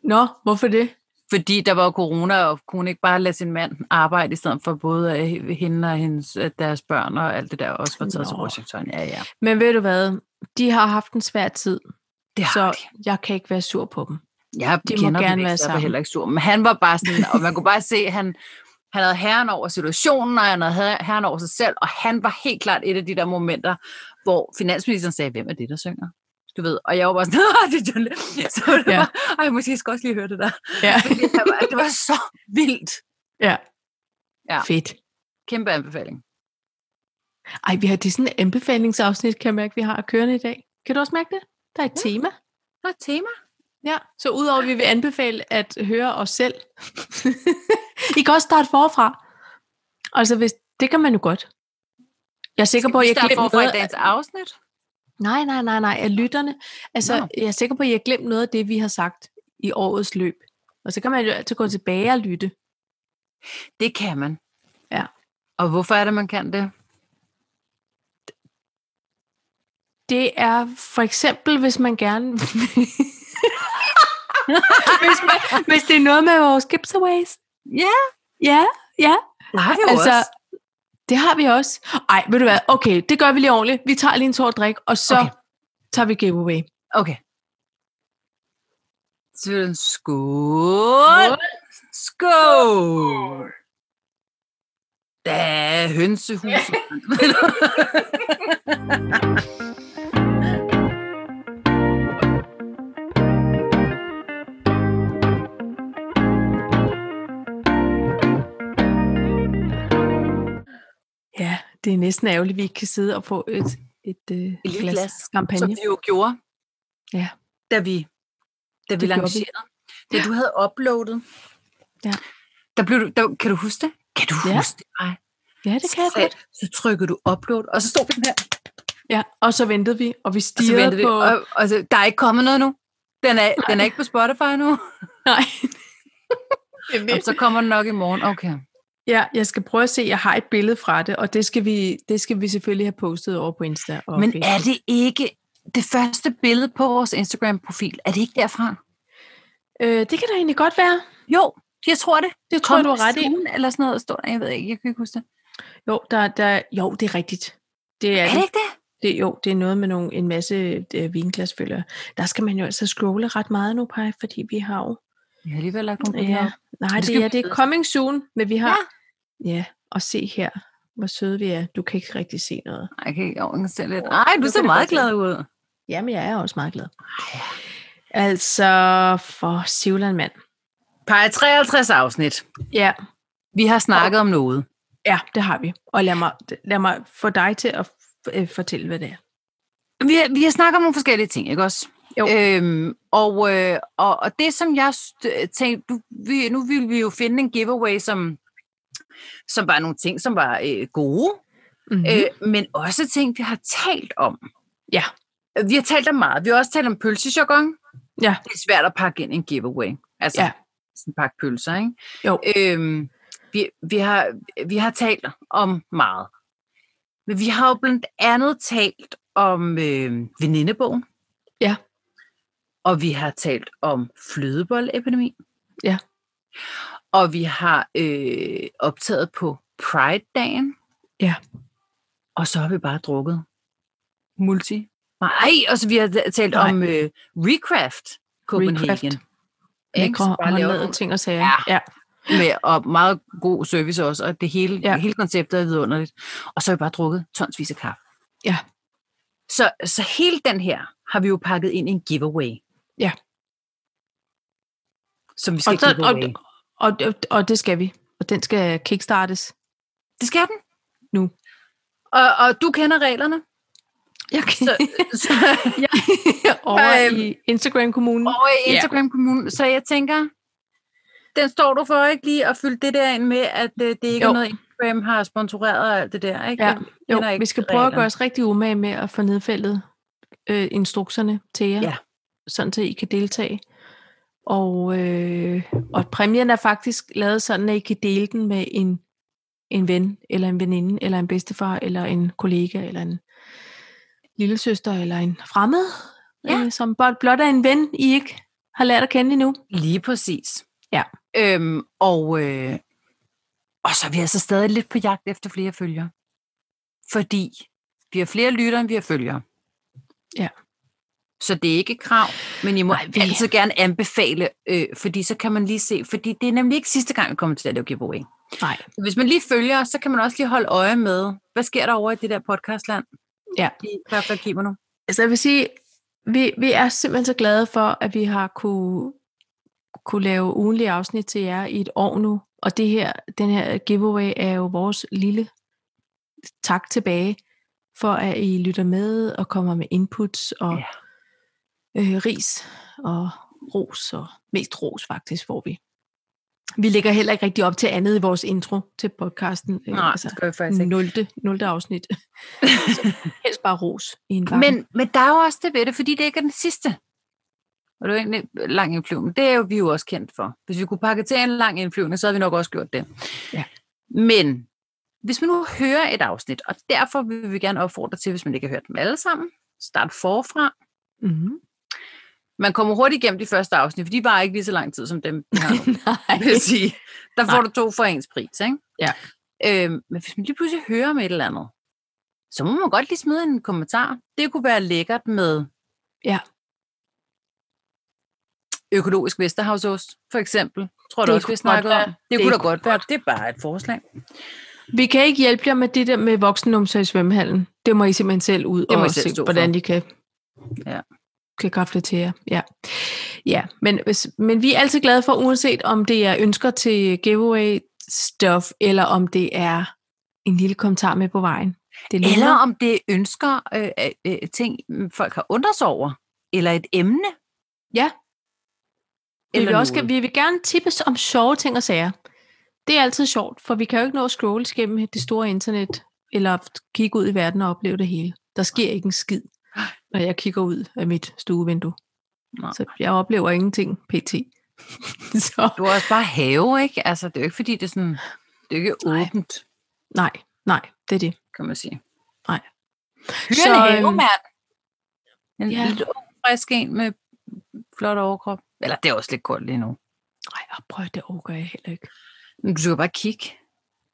[SPEAKER 2] Nå, hvorfor det?
[SPEAKER 1] Fordi der var jo corona, og kunne hun ikke bare lade sin mand arbejde, i stedet for både øh, hende og hendes, øh, deres børn og alt det der, også var taget til
[SPEAKER 2] Nå.
[SPEAKER 1] Washington. Ja, ja.
[SPEAKER 2] Men ved du hvad? De har haft en svær tid,
[SPEAKER 1] Det har
[SPEAKER 2] så
[SPEAKER 1] de.
[SPEAKER 2] jeg kan ikke være sur på dem.
[SPEAKER 1] Jeg
[SPEAKER 2] De må
[SPEAKER 1] kender
[SPEAKER 2] gerne
[SPEAKER 1] dem ikke,
[SPEAKER 2] være
[SPEAKER 1] så jeg var
[SPEAKER 2] sammen.
[SPEAKER 1] heller ikke sur. Men han var bare sådan, og man kunne bare se, at han, han havde herren over situationen, og han havde her- herren over sig selv, og han var helt klart et af de der momenter, hvor finansministeren sagde, hvem er det, der synger? Du ved, og jeg var bare sådan, "Åh, det er John Lennon." Så det
[SPEAKER 2] Ja.
[SPEAKER 1] var, Ej, måske jeg skal også lige høre det der.
[SPEAKER 2] Ja,
[SPEAKER 1] Fordi han var, det var så vildt.
[SPEAKER 2] ja.
[SPEAKER 1] Ja.
[SPEAKER 2] Fedt.
[SPEAKER 1] Kæmpe anbefaling.
[SPEAKER 2] Ej, vi har det er sådan en anbefalingsafsnit, kan jeg mærke, vi har kørende i dag. Kan du også mærke det? Der er et ja. tema.
[SPEAKER 1] Og et tema.
[SPEAKER 2] Ja, så udover at vi vil anbefale at høre os selv. I kan også starte forfra. Altså, hvis, det kan man jo godt. Jeg er sikker på, at jeg
[SPEAKER 1] Skal vi starte
[SPEAKER 2] glemte
[SPEAKER 1] forfra i
[SPEAKER 2] noget.
[SPEAKER 1] dagens afsnit?
[SPEAKER 2] Nej, nej, nej, nej, af lytterne. Altså,
[SPEAKER 1] Nå.
[SPEAKER 2] jeg er sikker på, at jeg har glemt noget af det, vi har sagt i årets løb. Og så kan man jo altid gå tilbage og lytte.
[SPEAKER 1] Det kan man.
[SPEAKER 2] Ja.
[SPEAKER 1] Og hvorfor er det, man kan det?
[SPEAKER 2] Det er for eksempel, hvis man gerne... hvis, man, hvis det er noget med vores giveaways.
[SPEAKER 1] Ja,
[SPEAKER 2] Ja, ja.
[SPEAKER 1] det har vi jo
[SPEAKER 2] Altså,
[SPEAKER 1] altså, også.
[SPEAKER 2] det har vi også. Ej, ved du hvad? Okay, det gør vi lige ordentligt. Vi tager lige en tår drik, og så okay.
[SPEAKER 1] Okay.
[SPEAKER 2] tager vi giveaway.
[SPEAKER 1] Okay. Så vil den skål. Skål. Da hønsehuset.
[SPEAKER 2] det er næsten ærgerligt, at vi ikke kan sidde og få et, et, et, et
[SPEAKER 1] lille
[SPEAKER 2] glas,
[SPEAKER 1] glas,
[SPEAKER 2] glas
[SPEAKER 1] som
[SPEAKER 2] champagne.
[SPEAKER 1] vi jo gjorde,
[SPEAKER 2] Ja.
[SPEAKER 1] da vi, da vi
[SPEAKER 2] gjorde vi.
[SPEAKER 1] lancerede. Da du havde uploadet.
[SPEAKER 2] Ja.
[SPEAKER 1] Der blev du, der, kan du huske det? Kan du
[SPEAKER 2] Ja.
[SPEAKER 1] huske det? Ej,
[SPEAKER 2] Ja, det kan jeg
[SPEAKER 1] så,
[SPEAKER 2] godt.
[SPEAKER 1] så trykkede du upload, og så stod vi den her.
[SPEAKER 2] Ja, og så ventede vi, og vi
[SPEAKER 1] Og så
[SPEAKER 2] stirrede
[SPEAKER 1] ventede vi,
[SPEAKER 2] på...
[SPEAKER 1] og, og så, der er ikke kommet noget nu. Den er, den er ikke på Spotify nu.
[SPEAKER 2] Nej. det er
[SPEAKER 1] Jamen, så kommer den nok i morgen. Okay.
[SPEAKER 2] Ja, jeg skal prøve at se, jeg har et billede fra det, og det skal vi, det skal vi selvfølgelig have postet over på Insta. Og
[SPEAKER 1] Men
[SPEAKER 2] Facebook.
[SPEAKER 1] er det ikke det første billede på vores Instagram-profil? Er det ikke derfra?
[SPEAKER 2] øh, det kan da egentlig godt være.
[SPEAKER 1] Jo, jeg tror det.
[SPEAKER 2] Det tror jeg, du har ret i.
[SPEAKER 1] Ugen, eller sådan noget, står der. Jeg ved ikke, jeg kan ikke huske det.
[SPEAKER 2] Jo, der, der, jo, det er rigtigt. Det er,
[SPEAKER 1] Er det ikke det?
[SPEAKER 2] Det, jo, det er noget med nogle, en masse øh, vinglas, føler jeg. Der skal man jo altså scrolle ret meget nu, Paj, fordi vi har jo...
[SPEAKER 1] Jeg har alligevel lagt nogle billeder.
[SPEAKER 2] Ja,
[SPEAKER 1] op.
[SPEAKER 2] nej,
[SPEAKER 1] Det
[SPEAKER 2] det,
[SPEAKER 1] skal
[SPEAKER 2] ja,
[SPEAKER 1] vi
[SPEAKER 2] det er
[SPEAKER 1] vide.
[SPEAKER 2] coming soon, men vi har... Ja. ja, og se her, hvor søde vi er. Du kan ikke rigtig se noget.
[SPEAKER 1] Ej, jeg kan ikke jeg kan se lidt. Ej,
[SPEAKER 2] Nu
[SPEAKER 1] du
[SPEAKER 2] kan
[SPEAKER 1] ser
[SPEAKER 2] det
[SPEAKER 1] meget
[SPEAKER 2] godt være.
[SPEAKER 1] glad ud.
[SPEAKER 2] Jamen, jeg er også meget glad. Altså, for Sivland, mand.
[SPEAKER 1] Pej 53 afsnit.
[SPEAKER 2] Ja,
[SPEAKER 1] Vi har snakket om noget.
[SPEAKER 2] Ja, det har vi. Og lad mig, lad mig få dig til at f- øh, fortælle, hvad det er.
[SPEAKER 1] Vi har, vi har snakket om nogle forskellige ting, ikke også?
[SPEAKER 2] Jo.
[SPEAKER 1] Øhm, og, øh, og, og det, som jeg st- tænkte, du, vi, nu ville vi jo finde en giveaway, som, som var nogle ting, som var øh, gode,
[SPEAKER 2] Mm-hmm. Øh,
[SPEAKER 1] øh, men også ting, vi har talt om.
[SPEAKER 2] Ja.
[SPEAKER 1] Vi har talt om meget. Vi har også talt om pølsejargon.
[SPEAKER 2] Ja.
[SPEAKER 1] Det er svært at pakke ind i en giveaway. Altså,
[SPEAKER 2] Ja.
[SPEAKER 1] sådan en pakke pølser, ikke?
[SPEAKER 2] Jo.
[SPEAKER 1] Øhm, vi, vi, har, vi har talt om meget. Men vi har jo blandt andet talt om øh, venindebogen.
[SPEAKER 2] Ja.
[SPEAKER 1] Og vi har talt om flødebollepidemi.
[SPEAKER 2] Ja.
[SPEAKER 1] Og vi har øh, optaget på Pride-dagen.
[SPEAKER 2] Ja.
[SPEAKER 1] Og så har vi bare drukket multi. Nej, og så vi har talt
[SPEAKER 2] Nej.
[SPEAKER 1] om øh, Recraft Copenhagen. Recraft.
[SPEAKER 2] Lækre håndlavede ting og sager.
[SPEAKER 1] Ja.
[SPEAKER 2] ja.
[SPEAKER 1] med, og meget god service også, og det hele, ja.
[SPEAKER 2] Ja.
[SPEAKER 1] hele konceptet er vidunderligt. Og så har vi bare drukket tonsvis af kaffe.
[SPEAKER 2] Ja.
[SPEAKER 1] Så, så hele den her har vi jo pakket ind i en giveaway.
[SPEAKER 2] Ja.
[SPEAKER 1] Som vi skal
[SPEAKER 2] Og,
[SPEAKER 1] og
[SPEAKER 2] så,
[SPEAKER 1] give
[SPEAKER 2] og,
[SPEAKER 1] away.
[SPEAKER 2] og, og, og det skal vi. Og den skal kickstartes.
[SPEAKER 1] Det skal den.
[SPEAKER 2] Nu.
[SPEAKER 1] Og, og du kender reglerne.
[SPEAKER 2] Okay.
[SPEAKER 1] Så,
[SPEAKER 2] Så,
[SPEAKER 1] så
[SPEAKER 2] ja. Over
[SPEAKER 1] Øhm,
[SPEAKER 2] i Instagram-kommunen.
[SPEAKER 1] over i
[SPEAKER 2] Ja.
[SPEAKER 1] Instagram-kommunen. Så jeg tænker, den står du for ikke lige at fylde det der ind med, at øh, det ikke jo. er
[SPEAKER 2] Jo.
[SPEAKER 1] noget, Instagram har sponsoreret og alt det der. Ikke?
[SPEAKER 2] Ja.
[SPEAKER 1] Jeg kender
[SPEAKER 2] Jo,
[SPEAKER 1] ikke
[SPEAKER 2] vi skal prøve at
[SPEAKER 1] reglerne.
[SPEAKER 2] gøre os rigtig umage med at få nedfældet øh, instrukserne til jer.
[SPEAKER 1] Ja.
[SPEAKER 2] Sådan, så I kan deltage. Og, øh, og præmien er faktisk lavet sådan, at I kan dele den med en, en ven, eller en veninde, eller en bedstefar, eller en kollega, eller en lille søster, eller en fremmed,
[SPEAKER 1] Ja.
[SPEAKER 2] ja. øh, som blot, blot er en ven, I ikke har lært at kende endnu.
[SPEAKER 1] Lige præcis.
[SPEAKER 2] Ja.
[SPEAKER 1] Øhm, og, øh, og så er vi altså stadig lidt på jagt efter flere følgere. Fordi vi har flere lyttere, end vi har følgere.
[SPEAKER 2] Ja.
[SPEAKER 1] Så det er ikke et krav, men I må
[SPEAKER 2] Nej,
[SPEAKER 1] Nej,
[SPEAKER 2] vi-
[SPEAKER 1] altid gerne anbefale, øh, fordi så kan man lige se, fordi det er nemlig ikke sidste gang, vi kommer til at lave giveaway.
[SPEAKER 2] Nej.
[SPEAKER 1] Hvis man lige følger, os, så kan man også lige holde øje med, hvad sker der over i det der podcastland?
[SPEAKER 2] Ja.
[SPEAKER 1] I hvert fald giver mig nu.
[SPEAKER 2] Altså jeg vil sige, vi, vi er simpelthen så glade for, at vi har kunne, kunne lave ugenlige afsnit til jer i et år nu. Og det her, den her giveaway er jo vores lille tak tilbage, for at I lytter med og kommer med inputs og ja. øh, ris og ros, og mest ros faktisk får vi. Vi lægger heller ikke rigtig op til andet i vores intro til podcasten. øh,
[SPEAKER 1] Nej,
[SPEAKER 2] altså
[SPEAKER 1] det gør vi faktisk ikke.
[SPEAKER 2] 0. 0. afsnit. Så helst bare ros i en bakke.
[SPEAKER 1] Men, men der er jo også det ved det, fordi det ikke er den sidste. Og det er jo egentlig lang indflyvning. men Det er jo vi jo også kendt for. Hvis vi kunne pakke til en lang indflyvning, så havde vi nok også gjort det.
[SPEAKER 2] Ja.
[SPEAKER 1] Men hvis man nu hører et afsnit, og derfor vil vi gerne opfordre til, hvis man ikke har hørt dem alle sammen, start forfra.
[SPEAKER 2] Mm-hmm.
[SPEAKER 1] Man kommer hurtigt igennem de første afsnit, for de var ikke lige så lang tid som dem, vi har nu
[SPEAKER 2] Nej.
[SPEAKER 1] vil jeg sige. Der får
[SPEAKER 2] Nej.
[SPEAKER 1] du to for ens pris, ikke?
[SPEAKER 2] Ja.
[SPEAKER 1] Øhm, men hvis man lige pludselig hører om et eller andet, så må man godt lige smide en kommentar. Det kunne være lækkert med
[SPEAKER 2] Ja.
[SPEAKER 1] økologisk Vesterhavsost, for eksempel. Tror
[SPEAKER 2] Det
[SPEAKER 1] du også,
[SPEAKER 2] kunne
[SPEAKER 1] vi snakker
[SPEAKER 2] godt
[SPEAKER 1] om?
[SPEAKER 2] være.
[SPEAKER 1] Det,
[SPEAKER 2] Det
[SPEAKER 1] kunne da
[SPEAKER 2] kunne
[SPEAKER 1] godt være. Det er bare et forslag.
[SPEAKER 2] Vi kan ikke hjælpe jer med det der med voksennumser i svømmehallen. Det må I simpelthen selv ud
[SPEAKER 1] Det må I
[SPEAKER 2] og
[SPEAKER 1] selv
[SPEAKER 2] se,
[SPEAKER 1] stå
[SPEAKER 2] hvordan
[SPEAKER 1] for.
[SPEAKER 2] I kan,
[SPEAKER 1] Ja.
[SPEAKER 2] kan gafle til jer. Ja, ja men, hvis, men vi er altid glade for, uanset om det er ønsker til giveaway stuff, eller om det er en lille kommentar med på vejen. Det
[SPEAKER 1] Eller om det ønsker øh, øh, øh, ting, mm, folk har undret sig over. Eller et emne.
[SPEAKER 2] Ja. Vi
[SPEAKER 1] Eller
[SPEAKER 2] vil, også,
[SPEAKER 1] noget.
[SPEAKER 2] vi vil gerne tippes om sjove ting og sager. Det er altid sjovt, for vi kan jo ikke nå at scrolle gennem det store internet, eller kigge ud i verden og opleve det hele. Der sker ikke en skid, når jeg kigger ud af mit stuevindue.
[SPEAKER 1] Nej.
[SPEAKER 2] Så jeg oplever ingenting pt. så
[SPEAKER 1] Du har også bare have, ikke? Altså, det er jo ikke, fordi det er sådan... Det er jo ikke
[SPEAKER 2] Nej.
[SPEAKER 1] åbent,
[SPEAKER 2] nej, nej, det er det.
[SPEAKER 1] kan man sige.
[SPEAKER 2] Nej.
[SPEAKER 1] Hyr
[SPEAKER 2] Så,
[SPEAKER 1] en
[SPEAKER 2] øhm,
[SPEAKER 1] havemand. En
[SPEAKER 2] ja.
[SPEAKER 1] ja. lidt ung, frisk en med flot overkrop. Eller det er også lidt koldt lige nu.
[SPEAKER 2] Nej, prøv det overgør jeg heller ikke.
[SPEAKER 1] Men Du skal bare kigge.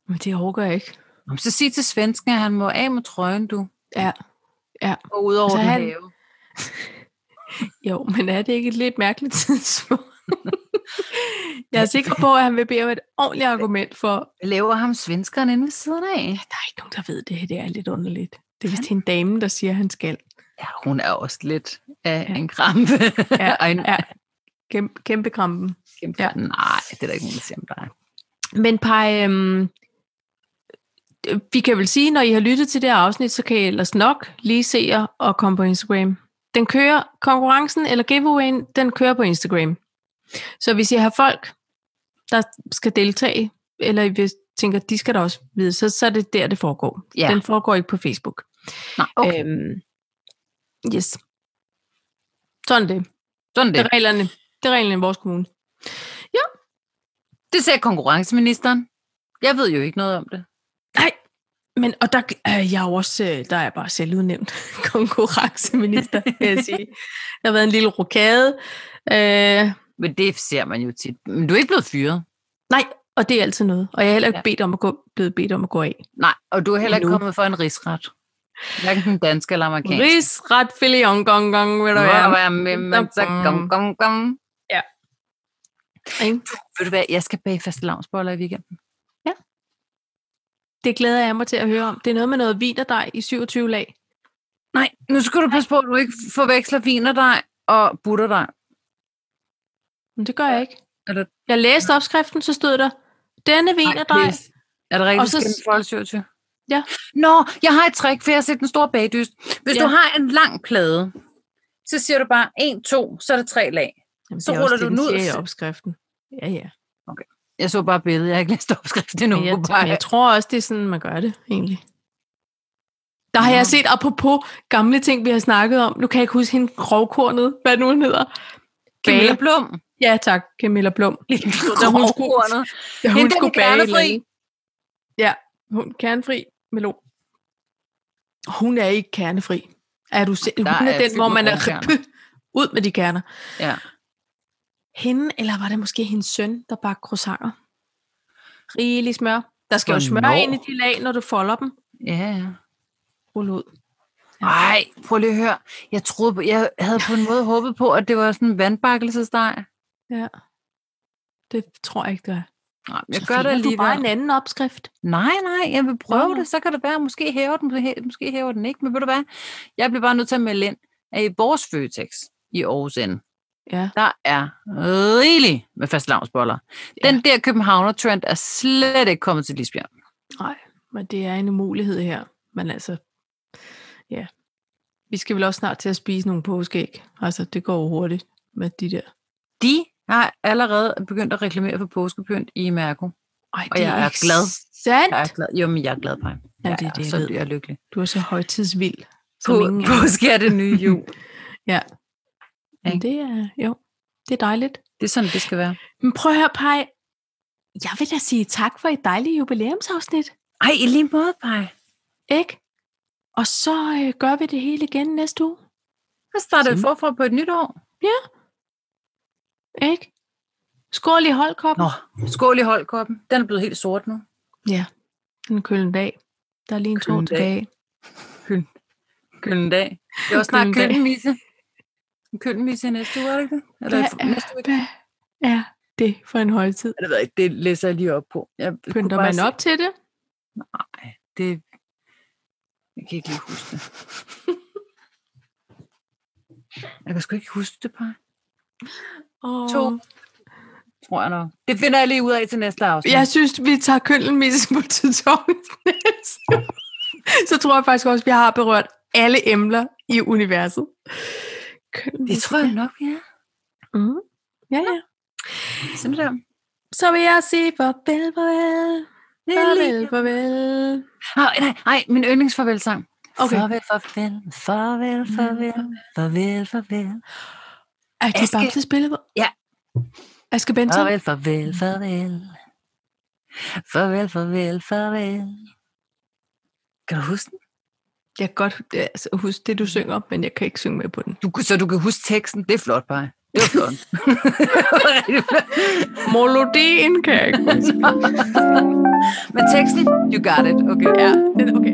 [SPEAKER 2] Men det overgør jeg ikke.
[SPEAKER 1] Nå, men Så sig til svensken, at han må af med trøjen, du.
[SPEAKER 2] Ja. Ja.
[SPEAKER 1] Og ud over
[SPEAKER 2] Så
[SPEAKER 1] den
[SPEAKER 2] han-
[SPEAKER 1] have.
[SPEAKER 2] Jo, men er det ikke et lidt mærkeligt tidspunkt? jeg er sikker på, at han vil bede om et ordentligt argument for,
[SPEAKER 1] Laver ham svenskeren inde ved siden af.
[SPEAKER 2] Der er ikke nogen, der ved det her. Det er lidt underligt. Det er vist en dame, der siger, at han skal.
[SPEAKER 1] Ja, hun er også lidt af
[SPEAKER 2] Ja.
[SPEAKER 1] en krampe.
[SPEAKER 2] Ja,
[SPEAKER 1] og en
[SPEAKER 2] ja. Kæmpe, kæmpe krampen.
[SPEAKER 1] kæmpe.
[SPEAKER 2] Ja.
[SPEAKER 1] Ja. Nej, det er der ikke nogen, der siger om dig.
[SPEAKER 2] Men Paj, øhm, vi kan vel sige, når I har lyttet til det her afsnit, så kan I ellers nok lige se jer og komme på Instagram. Den kører, konkurrencen eller giveawayen, den kører på Instagram. Så hvis I har folk, der skal deltage, eller I vil- tænker, de skal da også vide, så, så er det der, det foregår.
[SPEAKER 1] Ja.
[SPEAKER 2] Den foregår ikke på Facebook.
[SPEAKER 1] Nej, okay. Øh,
[SPEAKER 2] Øhm, yes. Sådan det.
[SPEAKER 1] Sådan
[SPEAKER 2] Det
[SPEAKER 1] det.
[SPEAKER 2] er reglerne. Det er reglerne i vores kommune.
[SPEAKER 1] Det sagde konkurrenceministeren. Jeg ved jo ikke noget om det.
[SPEAKER 2] Nej, men og der øh, jeg er jo også, øh, der er jeg bare selvudnævnt konkurrenceminister, vil jeg sige. Der har været en lille rokade, øh,
[SPEAKER 1] Men det ser man jo tit. Men du er ikke blevet fyret.
[SPEAKER 2] og det er altid noget. Og jeg er heller ikke
[SPEAKER 1] Ja.
[SPEAKER 2] bedt om at gå, blevet bedt om at gå af.
[SPEAKER 1] Nej, og du er heller ikke
[SPEAKER 2] Endnu.
[SPEAKER 1] kommet for en rigsret. Hverken den danske eller amerikanske.
[SPEAKER 2] Rigsret filion gong gong, vil du være.
[SPEAKER 1] men så kom, kom, kom.
[SPEAKER 2] Ikke?
[SPEAKER 1] Ved du hvad, jeg skal bage faste lavnsboller i weekenden.
[SPEAKER 2] Det glæder jeg mig til at høre om. Det er noget med noget vinerdej i 27 lag.
[SPEAKER 1] Nej, nu skal du passe på, at du ikke forveksler vinerdej og butterdej.
[SPEAKER 2] Men det gør jeg ikke.
[SPEAKER 1] Er det-
[SPEAKER 2] Jeg læste opskriften, så stod der, denne vinerdej.
[SPEAKER 1] pis. Er det rigtigt?
[SPEAKER 2] Og
[SPEAKER 1] Og
[SPEAKER 2] så-
[SPEAKER 1] så... Folde
[SPEAKER 2] Ja.
[SPEAKER 1] Nå, jeg har et trick, for jeg har set den store bagdyst. Hvis
[SPEAKER 2] Ja.
[SPEAKER 1] ja. du har en lang plade, så siger du bare 1, 2, så er der tre lag.
[SPEAKER 2] Jamen,
[SPEAKER 1] Så
[SPEAKER 2] det er
[SPEAKER 1] ruller
[SPEAKER 2] også
[SPEAKER 1] du
[SPEAKER 2] det,
[SPEAKER 1] den ud.
[SPEAKER 2] siger i opskriften. Ja, ja.
[SPEAKER 1] Jeg så bare billedet, jeg har ikke læst opskriften endnu.
[SPEAKER 2] Men jeg,
[SPEAKER 1] Bare-
[SPEAKER 2] men jeg tror også, det er sådan, man gør det, egentlig. Der har jeg
[SPEAKER 1] Nå.
[SPEAKER 2] set, apropos gamle ting, vi har snakket om. Nu kan jeg ikke huske hende grovkornet, hvad nu hun hedder.
[SPEAKER 1] Camilla
[SPEAKER 2] Bage.
[SPEAKER 1] Blom.
[SPEAKER 2] Ja, tak. Camilla Blum.
[SPEAKER 1] Da hun
[SPEAKER 2] Grovkornet.
[SPEAKER 1] skulle,
[SPEAKER 2] Da hun
[SPEAKER 1] Hende der
[SPEAKER 2] skulle
[SPEAKER 1] med
[SPEAKER 2] bage et eller
[SPEAKER 1] kernefri.
[SPEAKER 2] andet. Ja, hun kernefri melon. Hun er ikke kernefri. Er du se- hun
[SPEAKER 1] Der
[SPEAKER 2] er,
[SPEAKER 1] er
[SPEAKER 2] den,
[SPEAKER 1] fyldt
[SPEAKER 2] hvor
[SPEAKER 1] med
[SPEAKER 2] man er
[SPEAKER 1] brune
[SPEAKER 2] rippe ud med de kerner.
[SPEAKER 1] Ja.
[SPEAKER 2] Hende, eller var det måske hendes søn, der bagte croissanter? Rigelig smør. Der skal jo smør
[SPEAKER 1] Hvornår?
[SPEAKER 2] ind i de lag, når du folder dem.
[SPEAKER 1] Ja, ja.
[SPEAKER 2] Rulle ud.
[SPEAKER 1] Ej, prøv lige at høre. Jeg, troede, på- jeg havde på en måde håbet på, at det var sådan en vandbakkelsesdej.
[SPEAKER 2] Ja. Det tror jeg ikke, det er.
[SPEAKER 1] Nej, men jeg
[SPEAKER 2] Så
[SPEAKER 1] gør det
[SPEAKER 2] finder du bare
[SPEAKER 1] alligevel.
[SPEAKER 2] en anden opskrift.
[SPEAKER 1] Nej, nej, jeg vil prøve
[SPEAKER 2] Nå.
[SPEAKER 1] det. Så kan det være, at måske hæver den, måske hæ- måske hæver den ikke. Men ved du hvad? Jeg bliver bare nødt til at melde ind, at i vores Føtex i Aarhus N,
[SPEAKER 2] Ja.
[SPEAKER 1] der er rigeligt med fastelavnsboller.
[SPEAKER 2] Ja.
[SPEAKER 1] Den der Københavner-trend er slet ikke kommet til Lisbjerg.
[SPEAKER 2] Nej, men det er en umulighed her. Men altså, ja. Vi skal vel også snart til at spise nogle påskeæg. Altså, det går jo hurtigt med de der.
[SPEAKER 1] De har allerede begyndt at reklamere for påskepynt i Mærko.
[SPEAKER 2] Ej,
[SPEAKER 1] Og jeg er glad.
[SPEAKER 2] Sandt.
[SPEAKER 1] Jeg er glad. Jo, men jeg er glad på
[SPEAKER 2] Ja, det er det, jeg
[SPEAKER 1] så
[SPEAKER 2] ved.
[SPEAKER 1] bliver jeg lykkelig.
[SPEAKER 2] Du er så højtidsvild.
[SPEAKER 1] På,
[SPEAKER 2] Som ingen er.
[SPEAKER 1] påske er det nye jul.
[SPEAKER 2] Men det er, jo, det er dejligt.
[SPEAKER 1] Det er sådan, det skal være.
[SPEAKER 2] Men prøv at høre, Paj. Jeg vil da sige tak for et dejligt jubilæumsafsnit.
[SPEAKER 1] Ej, i lige måde, Paj.
[SPEAKER 2] Ikke? Og så øh, gør vi det hele igen næste uge.
[SPEAKER 1] Så starter vi
[SPEAKER 2] Sådan.
[SPEAKER 1] forfra på et nyt år.
[SPEAKER 2] Ikke? Skål i holdkoppen.
[SPEAKER 1] Nå, skål i holdkoppen. Den er blevet helt sort nu.
[SPEAKER 2] Den kølen dag. Der er lige en tår
[SPEAKER 1] Kølen dag.
[SPEAKER 2] tilbage.
[SPEAKER 1] Kølen dag. Det var snart
[SPEAKER 2] Kølen dag.
[SPEAKER 1] kølenmisse. En kølenmisse i næste uge, er det ikke det? Eller
[SPEAKER 2] Hvad
[SPEAKER 1] i for- næste uge?
[SPEAKER 2] er, hvad er det for en højtid?
[SPEAKER 1] Ja, Det ved jeg ikke. Det læser jeg lige op på. Jeg kunne
[SPEAKER 2] Pynter
[SPEAKER 1] bare
[SPEAKER 2] man
[SPEAKER 1] se-
[SPEAKER 2] op til det?
[SPEAKER 1] Nej, det... Jeg kan ikke lige huske det. Jeg kan sgu ikke huske det, Paj.
[SPEAKER 2] Oh.
[SPEAKER 1] To. Tror jeg nok. Det finder jeg lige ud af til næste afsnit.
[SPEAKER 2] Jeg synes, vi tager køndelmisse på til torsdag. så tror jeg faktisk også, at vi har berørt alle emner i universet. Køn-
[SPEAKER 1] Det tror jeg nok, vi er.
[SPEAKER 2] Mm. Ja, ja.
[SPEAKER 1] Sådan der.
[SPEAKER 2] Så vil jeg sige farvel, farvel, farvel, farvel.
[SPEAKER 1] Nej, Ah, nej, nej, min yndlingsfarvelsang.
[SPEAKER 2] Okay.
[SPEAKER 1] Farvel, farvel, farvel, farvel, farvel, farvel.
[SPEAKER 2] Er det
[SPEAKER 1] Aske-
[SPEAKER 2] Bamses billede?
[SPEAKER 1] Ja.
[SPEAKER 2] Aske Benson?
[SPEAKER 1] Farvel, farvel, farvel. Farvel, farvel, farvel. Kan du huske den?
[SPEAKER 2] Jeg kan godt øh, altså, huske det, du synger, men jeg kan ikke synge med på den.
[SPEAKER 1] Du, kan- så du kan huske teksten. Det er flot, bare. Det var flot.
[SPEAKER 2] Melodien kan jeg ikke huske.
[SPEAKER 1] Men teksten, you got it. Okay.
[SPEAKER 2] Ja, den- okay.